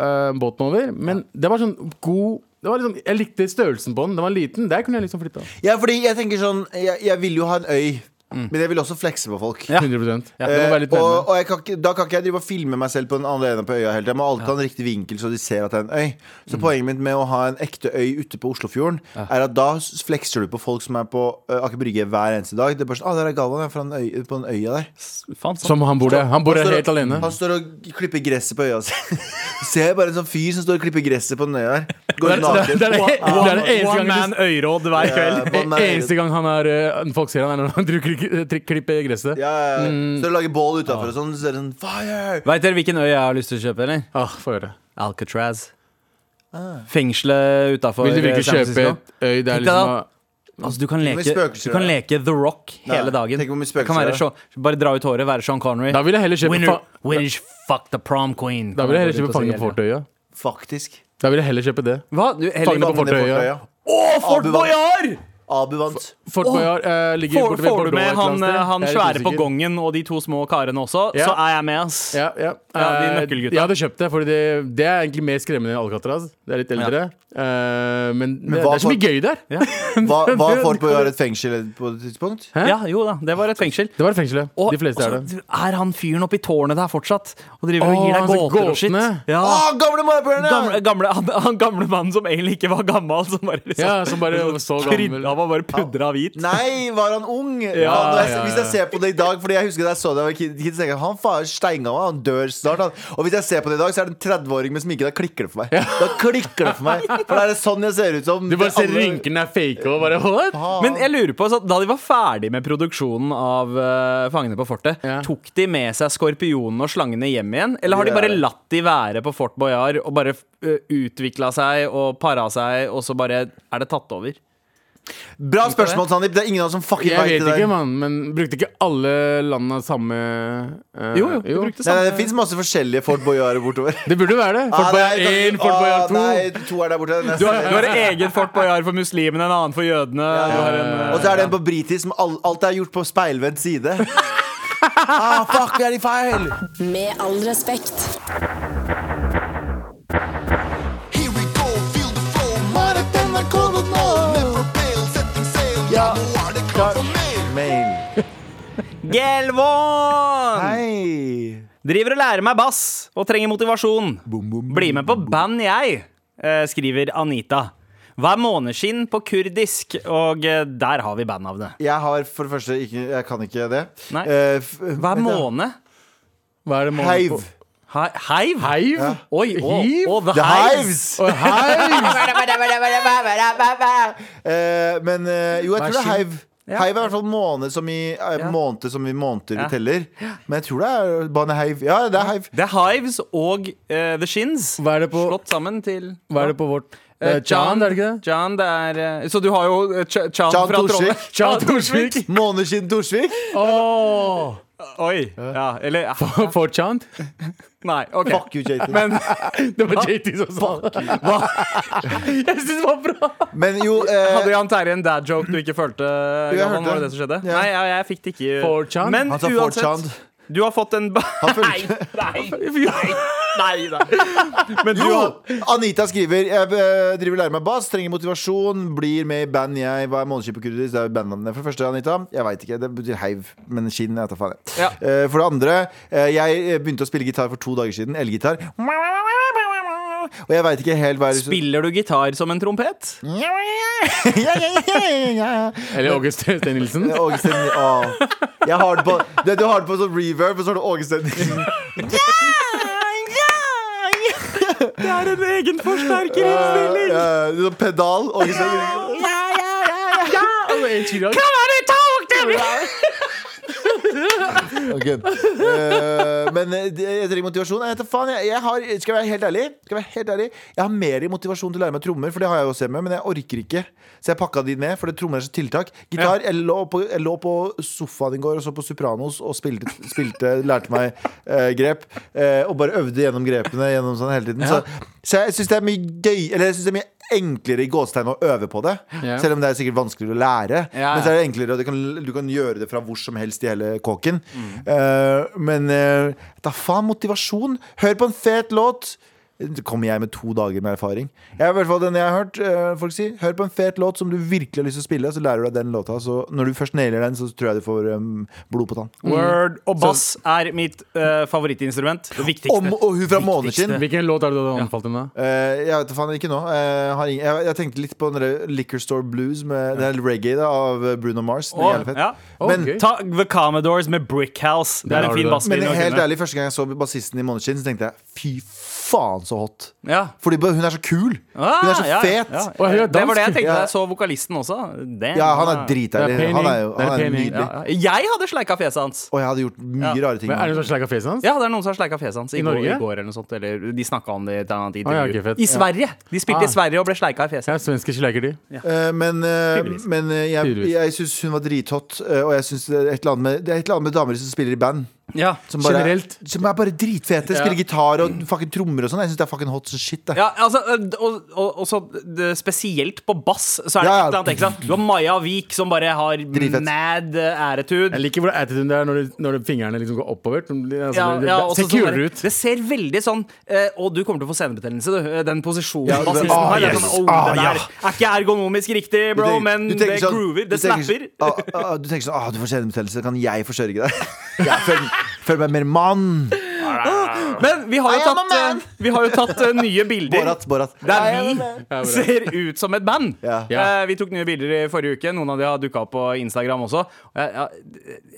eh, båten over. Men det var sånn god det var liksom, Jeg likte størrelsen på den. Den var liten. Der kunne jeg liksom flytta. Ja, fordi jeg tenker sånn Jeg, jeg vil jo ha en øy. Mm. Men jeg vil også flekse på folk. 100 Det Ja. må være litt Eh, nærmere. og og jeg kan ikke, da kan ikke jeg drive og filme meg selv på den alene på øya hele tiden. Jeg må alltid ha en riktig vinkel, så de ser at det er en øy. Mm. Så poenget mitt med å ha en ekte øy ute på Oslofjorden, er at da s- flekser du på folk som er på uh, Aker Brygge hver eneste dag. Det er bare sånn, ah, der er Galvan, jeg er fra den øy, på den øya der. Faen, sant. Som han bor der. Han bor der står og- helt alene. Altså, Han står og klipper gresset på øya si. <laughs> Ser jeg bare en sånn fyr som står og klipper gresset på den øya her. Går naken. det er det- det er det eneste One gangen du- man øyråd hver kveld. Eh, one man- Eneste gang han er, eh, folk ser han er når han <laughs> driver- kli- klipper gresset. Ja, ja, ja. Mm. Står og lager bål utafor og sånn. Så er det sånn Fire! Veit dere hvilken øy jeg har lyst til å kjøpe? eller? Ah, Få høre. Ah. Alcatraz. Fengselet utafor Vil du virkelig San kjøpe Francisco. et øy der Tenk deg da. liksom Altså, du kan mye leke, spøkelser du kan er leke The Rock Nei, hele dagen. tenk hvor mye Det kan være spøkelser Sean- bare dra ut håret, være Sean Connery. Da vil jeg heller kjøpe Winner, fa- Winner, fuck the prom queen. Da vil jeg heller kjøpe Kan Fangene jeg på gå ut og si Fortøya. Faktisk. Da vil jeg heller kjøpe det. Hva? Du, Fangene heller, på Fortøya. Å, Fort Abu Bakr. Boyard! Abu vant. Fort Boyard eh, ligger Får, borte ved får du Bordeaux. et med eller han, eh, annet sted. han Jeg er litt svære på usikker. gongen og de to små karene også, Ja. så er jeg med, ass. Ja, ja. Ja, de Eh, nøkkelgutta. jeg hadde kjøpt det, for det, det er egentlig mer skremmende enn Alcatraz. Det er litt eldre. Eh, men det, det hva er så mye for- gøy der. <laughs> Hva, hva får på å gjøre et fengsel på et tidspunkt? Hæ? Ja, jo da, det var et fengsel. Det var fengselet. Og- De fleste er og det. så er han fyren oppi tårnet der fortsatt? Og driver og Å, gir deg han som gåter og shit. gåtene. Ja. Å, Ah, gamle morapulerne! eh, Gamle, gamle, han, han gamle mannen som egentlig ikke var gammel, som bare liksom Ja, som bare så krydda, gammel. Han var bare pudra hvit. Nei, var han ung? Faen, når jeg, ja, ja. Hvis jeg ser på det i dag, Fordi jeg husker da jeg så det da jeg var kid, kid, så tenker jeg, Han faen steingammal, han dør snart. Han. Og hvis jeg ser på det i dag, så er det en 30-åring med sminke. Da klikker det for meg. Da klikker det for meg For da er det sånn jeg ser ut som. Du bare ser alle- rynkene er fake og bare What? Men jeg lurer på, så da de var ferdig med produksjonen av eh, Fangene på fortet, Ja. tok de med seg skorpionene og slangene hjem igjen? Eller har de Ja. bare latt de være på Fort Boyard og bare uh, utvikla seg og para seg, og så bare er det tatt over? Bra spørsmål, Sandeep. Det er ingen av oss som fucking Jeg vet vet det. ikke, der. mann, men brukte ikke alle landa samme eh, Jo, jo, de brukte Nei, nei, det fins masse forskjellige Fort Boyard bortover. Det burde være det. Fort Ah, Boyard nei, 1, Fort ah, Boyard 2. Nei, to er der borte. Nesten. Du har, du har et eget Fort Boyard for muslimene, en annen for jødene. Du har en, eh, Og så er det en på britisk som all, alt er gjort på speilvendt side. <laughs> ah, fuck, vi er i feil! Med all respekt. Here we go, feel the flow. Might have been like all of Never fail, setting sail. Ja, nå er det klart for mail. Mail. eh, Gelvon! Hei. Driver og lærer meg bass og trenger motivasjon. Bli med på band, jeg, eh, skriver Anita. Hver måneskinn på kurdisk, og eh, der har vi bandnavnet. Jeg har for det første ikke Jeg kan ikke det. Nei. Eh, f- Hver måned? Hva er det målet Heiv. på? He heiv? Heiv? Oi, å, Hiv? å, the The hives! Hives! Og heiv! <laughs> <laughs> Eh, men eh, jo, jeg tror det er Maskin. heiv. Heiv er i hvert fall måned som i eh, måned som i måneder vi teller. Men jeg tror det er baneheiv. Ja, det er <laughs> heiv. The Hives og eh, The Shins Hva er det på- slått sammen til Hva er det på vårt? Eh, Eh, Chan, er det ikke det? Chan, det er eh, Så du har jo eh, Ch Chan, Chan fra Trondheim? Torsvik. <laughs> Chan Torsvik. Måneskinn Torsvik. Åh Oi. Ja, eller <laughs> For Chan? Nei, OK. Fuck you, JT. Men, <laughs> Men Det var JT som sa det. Jeg syns det var bra. jo eh, Hadde Jan Terje en dad joke du ikke følte? jeg Galvan, var hørte det. det det som skjedde? Ja. Nei, jeg, jeg fikk det ikke. 4chan? Men Han sa 4chan. uansett, du har fått en ba- Han Nei, fulgte. <laughs> nei, nei, nei, nei. Men du Jo! har Anita skriver Jeg eh, driver og lærer meg bass, trenger motivasjon, blir med i band jeg Hva er månedskip og kurdis? Det er jo bandnavnet for det første, Anita. Jeg veit ikke. Det betyr heiv, men skinn. Jeg tar faen, jeg. Ja. Eh, For det andre, eh, jeg begynte å spille gitar for to dager siden. Elgitar. Og jeg veit ikke helt hva jeg Spiller du gitar som en trompet? Eller August Steen Nilsen. Åge Sten Å. Jeg har det på Du, du har det på sånn reverb, og så har du Åge Sten Nilsen. Det er en egen Eh, forsterkerinnstilling! eh, sånn pedal. Åge Sten Nilsen. Ok. Eh, men eh, det- jeg trenger motivasjon. Jeg, vet da faen, jeg, jeg har, skal jeg være helt ærlig? Skal jeg, være helt ærlig? jeg har mer motivasjon til å lære meg trommer, for det har jeg også hjemme, men jeg orker ikke. Så jeg pakka de ned, for det trommer er så tiltak. Gitar jeg, lå på, jeg lå på sofaen i går og så på Sopranos og spilte, spilte lærte meg eh, grep. eh, og bare øvde gjennom grepene gjennom sånn hele tiden. Så, så jeg syns det er mye gøy Eller jeg synes det er mye enklere i gåstegn å øve på det. Ja. Selv om det er sikkert vanskeligere å lære. Ja, Men ja. så er det enklere, og du kan, du kan gjøre det fra hvor som helst i hele kåken. Eh, men eh, da faen motivasjon. Hør på en fet låt. kommer jeg med to dager med erfaring. Jeg, er i hvert fall den jeg har hørt eh, folk si Hør på en fet låt som du virkelig har lyst til å spille, så lærer du deg den låta. Så når du først nailer den, så tror jeg du får eh, blod på tann. Word og bass er mitt eh, favorittinstrument. Det viktigste. Om og hun fra Måneskinn. Hvilken låt er det du hadde anbefalt henne? Eh, jeg vet da faen ikke nå. Eh, har ingen, jeg, jeg tenkte litt på den der Liquor Store Blues med det er reggae da, av Bruno Mars. Den er Å, jævlig fett. ja. Men- Ok. Ta The Commodores med Brick House. Det Der er har en du fin det. basslinje. Men å helt kunne. ærlig, første gang jeg så bassisten i Måneskinn, så tenkte jeg fy faen så hot. Ja. Fordi ba- hun er så kul. Ah, Hun er så ja, fet. ja. Å, hun er Det var det jeg dansk. tenkte da Ja. jeg så vokalisten også. Damn. Ja, han er dritdeilig. Det er Han er jo painting. han Det er er painting. nydelig. Ja, ja. Jeg hadde sleika fjeset hans. Og jeg hadde gjort mye Ja. rare ting. Men Er det noen som sleiker fjeset hans? Ja, det er noen som har sleika fjeset hans. I, I går, Norge? I går eller noe sånt. Eller de snakka om det i et annet Å, ja, intervju. ok, fett. I Sverige! De spilte Ah. i Sverige og ble sleika i fjeset. Ja, svensker sleiker de. Eh, men eh, men eh, jeg, Tydeligvis. jeg syns hun var drithot, eh, og jeg synes det, er et eller annet med, det er et eller annet med damer som spiller i band. Ja. Som bare, Generelt. Som er bare dritfete. Spiller Ja. gitar og fucking trommer og sånn. Jeg syns det er fucking hot som shit. Det. Ja, altså, ø, og, og, og så det, spesielt på bass, så er det Ja, et ja. eller annet. Ikke sant? Du har Maja Vik som bare har Dritfett. mad ø, attitude. Jeg liker hvordan attituden det er når, du- når fingrene liksom går oppover. Som- Altså, Ja, det, ja, det også ser sånn kulere der- ut. Det ser veldig sånn ø, Og du kommer til å få senebetennelse, du. ø, Den posisjonen Ja, det- bassisten ah, har. det er yes. Sånn, oh, Ah, det der ja. er ikke ergonomisk riktig, Du bro, tenker- men du det tenker sånn- groover. du Det tenker snapper. sånn, ah, ah, Du tenker sånn ah, Du får senebetennelse, kan jeg forsørge deg? <laughs> Jeg føler, føler meg mer mann. Men vi har I jo am a tatt, man. ø, vi har jo tatt ø, nye bilder Borat, Borat. der vi Ja, bra. ser ut som et band. Ja. Ja. Eh, vi tok nye bilder i forrige uke. Noen av de har dukka opp på Instagram også. Og Jeg, jeg,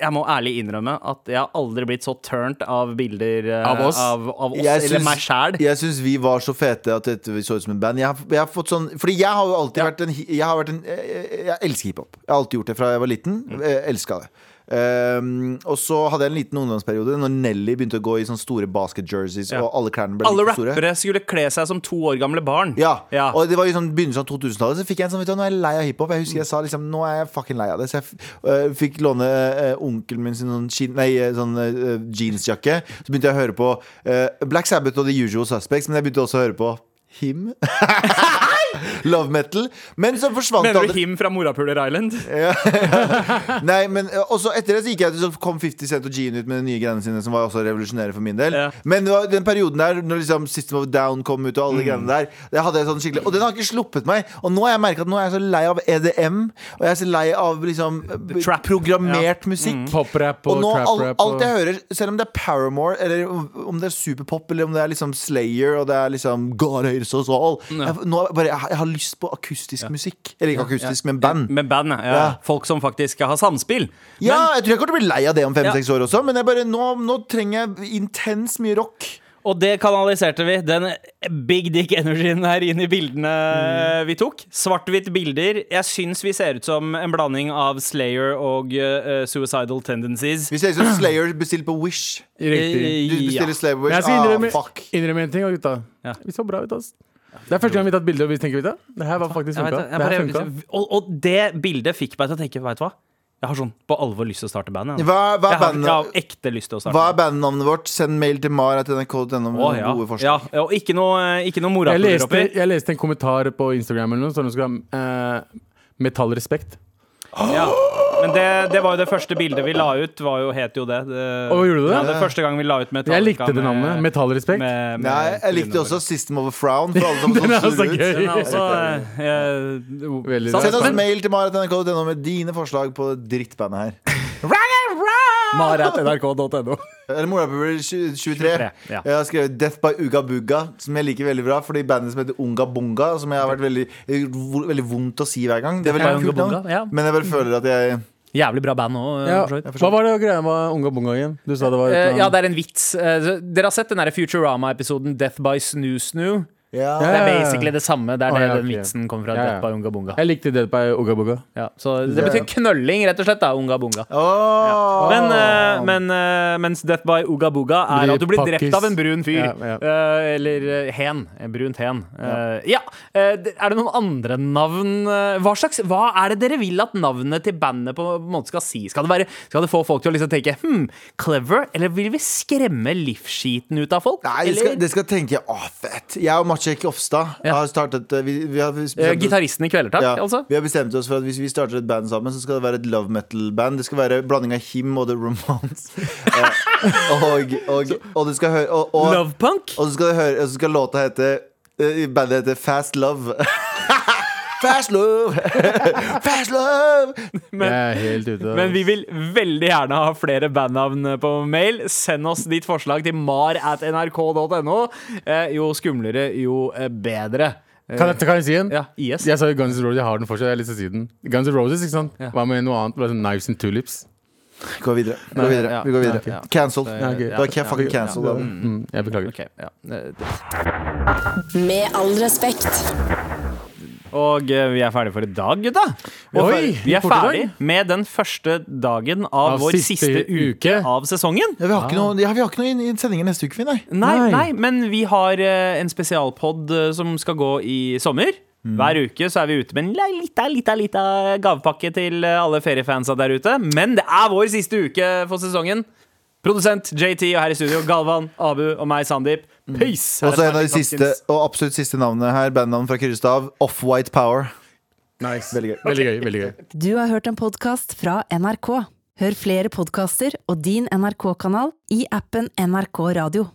jeg må ærlig innrømme at jeg har aldri blitt så turnt av bilder eh, Av oss? av, av oss Jeg eller syns- meg sjæl. Jeg syns vi var så fete at dette- vi så ut som en band. Jeg har, jeg har fått sånn Fordi jeg har jo alltid vært en hi- Jeg, har vært en, jeg, jeg elsker hiphop. Jeg har alltid gjort det fra jeg var liten. Mm. Jeg elska det. Ehm, og så hadde jeg en liten ungdomsperiode Når Nelly begynte å gå i sånne store basket-jerseys. Ja. Og alle klærne ble Alle like store. rappere skulle kle seg som to år gamle barn. Ja. Ja. og det var i sånn begynnelsen av 2000-tallet. Så fikk jeg en sånn, vet du, hva, nå er jeg lei av hiphop. Jeg husker jeg sa liksom, nå er jeg fucking lei av det. Så jeg f- øh, fikk låne øh, onkelen min sin sånn, skin, nei, øh, sånn øh, jeansjakke. Så begynte jeg å høre på øh, Black Sabbath og The Usual Suspects, men jeg begynte også å høre på Him. <laughs> Love metal. Men så forsvant Mener aldri- du Him fra Morapuler Island? Nei, men ø, også etter det så gikk jeg til så kom 50 Cent og Gene ut med de nye greiene sine, som var også revolusjonære for min del. Ja. Men det var den perioden der, når liksom System of a Down kom ut, og alle greiene der, det hadde jeg sånn skikkelig Og den har ikke sluppet meg. Og nå har jeg merket at nå er jeg så lei av EDM, og jeg er så lei av liksom b- Trap. programmert musikk. Poprap og Og nå, all, traprap. alt jeg og- hører, selv om det er Paramore, eller om- om det er superpop, eller om det er liksom Slayer, og det er liksom God Hates Us All jeg, Nå er jeg bare, jeg, har- jeg har lyst på akustisk musikk. Eller ikke akustisk, men band. Med band, ja. Ja. Folk som faktisk har samspill. Ja, jeg tror jeg kommer til å bli lei av det om fem-seks Ja. år også, men jeg bare, nå, nå trenger jeg intens mye rock. Og det kanaliserte vi, den big dick energien her inn i bildene Mm. vi tok. Svart-hvitt bilder. Jeg syns vi ser ut som en blanding av Slayer og eh, Suicidal Tendencies. Vi ser ut som liksom Slayer bestilt på Wish. Riktig. Du bestiller Slayer Men på Wish. jeg skal innrømme, Ah, fuck. innrømme en ting, da, gutta. Ja. Vi så bra ut, ass. Det er første gang vi har tatt bilde, og vi tenker vet du, det her var faktisk Jeg vet funka. det, Det jeg her bare- funka. og, og det bildet fikk meg til å tenke, veit du hva? Jeg har sånn på alvor lyst til å starte band. jeg. Hva- hva er jeg, har, bandet? jeg har ekte lyst til å starte Hva er bandnavnet vårt? Send mail til mar.nrk.no med Å, ja. gode ja, forslag. ja, og ikke noe, eh, ikke noe Jeg morapuler leste, oppi. jeg leste en kommentar på Instagram eller noe, så den skulle ha eh, metallrespekt. Ja. Men det, det var jo det første bildet vi la ut, var jo, het jo det. det Å, gjorde du det? Ja, det første gang vi la ut Metallica Jeg likte det navnet. med- Metallrespekt. med- med- Nei, jeg likte også System of a Frown. <laughs> For alle som Den er så surrer ut. gøy. Den er Altså, også eh, eh, Veldig sant? bra. Send oss Men- mail til mar.nrk.no med dine forslag på drittbandet her. Maratnrk.no. Eller Morapuler 23. 23 ja. Jeg har skrevet Death by Uga Buga, som jeg liker veldig bra. Fordi bandet som heter Unga Bunga, som jeg har vært veldig, det gjør vo- veldig vondt å si hver gang. Det er veldig Death by kult Unga navn, Bunga, ja. Men jeg bare føler at jeg Jævlig bra band eh, òg. Ja. Hva var det greia med Unga Bunga igjen? Du sa det var et eller annet. ja, det er en vits. Eh, dere har sett den der Futurama-episoden 'Death by Snoo Snoo'? ja. Det er Ja, ja, ja. basically det samme. Det er Å, det ja, den ok. vitsen kommer fra. Ja, ja. Death by Unga Bunga. Jeg likte det på Unga Bunga. Ja, så det betyr knølling, rett og slett. da, Unga Bunga. Åh. Men, eh, men eh, mens Death by Uga Buga er Blir at du blir pakkis. drept av en brun fyr. Ja, ja. Eh, eller eh, hen. En Brunt hen. Eh, ja. eh, det- er det noen andre navn eh, Hva slags, hva er det dere vil at navnet til bandet på en måte skal si? Skal det, være, skal det få folk til å liksom tenke hm, clever, eller vil vi skremme livsskiten ut av folk? Nei, det skal, Eller- det skal tenke Åh, fett. Jeg og Mats Acek Ofstad Ja. har startet eh, vi, vi har bestemt Eh, oss- Gitaristen i Kvelertak, ja, altså. Vi har bestemt oss for at hvis vi starter et band sammen, så skal det være et love metal-band. Det skal være blanding av him og <laughs> The Romance. Eh, og, og, og det skal høre og, og, Lovepunk? og så skal, det høre, og så skal låta hete eh, Bandet heter Fast Love. <laughs> Fast Love! <laughs> Fast Love! Jeg er helt ute. Men vi vil veldig gjerne ha flere bandnavn på mail. Send oss ditt forslag til mar at nrk.no. Eh, Jo skumlere, jo eh, bedre. Eh, kan, jeg, kan jeg si en? Ja, IS. Jeg sa jo Guns N' Roses, jeg har den fortsatt. Jeg har lyst til å si den. Guns N' Roses, ikke sant? Ja. Hva med noe annet? Bare sånn Knives and Tulips. Gå videre. Gå videre. ja, Vi går videre. ja, ja. Cancelled. Ja, ok. Det var ikke fucking cancelled. da. Mm, jeg beklager. Ok, ja. Eh, Med all respekt. Og eh, vi er ferdige for i dag, gutta. Og Oi, fer- vi er fort i dag. ferdig med den første dagen av, Av vår siste siste, uke uke. av sesongen. Ja, vi har ikke noe, ja, vi har ikke noe inn- inn sendinger neste uke, vi, nei. Nei, Nei. nei. men vi har eh, en spesialpod eh, som skal gå i sommer. Hver uke så er vi ute med en li- lita, lita, lita gavepakke til eh, alle feriefansa der ute. Men det er vår siste uke for sesongen. Produsent JT og her i studio Galvan, Abu og meg, Sandeep. Peace! Her Og så er en av de Sandeep siste, Hopkins. og absolutt siste navnet her, bandnavnet fra Krystad, Off-White Power. Nice. Veldig gøy. Veldig gøy. veldig gøy Du har hørt en podkast fra NRK. Hør flere podkaster og din NRK-kanal i appen NRK Radio.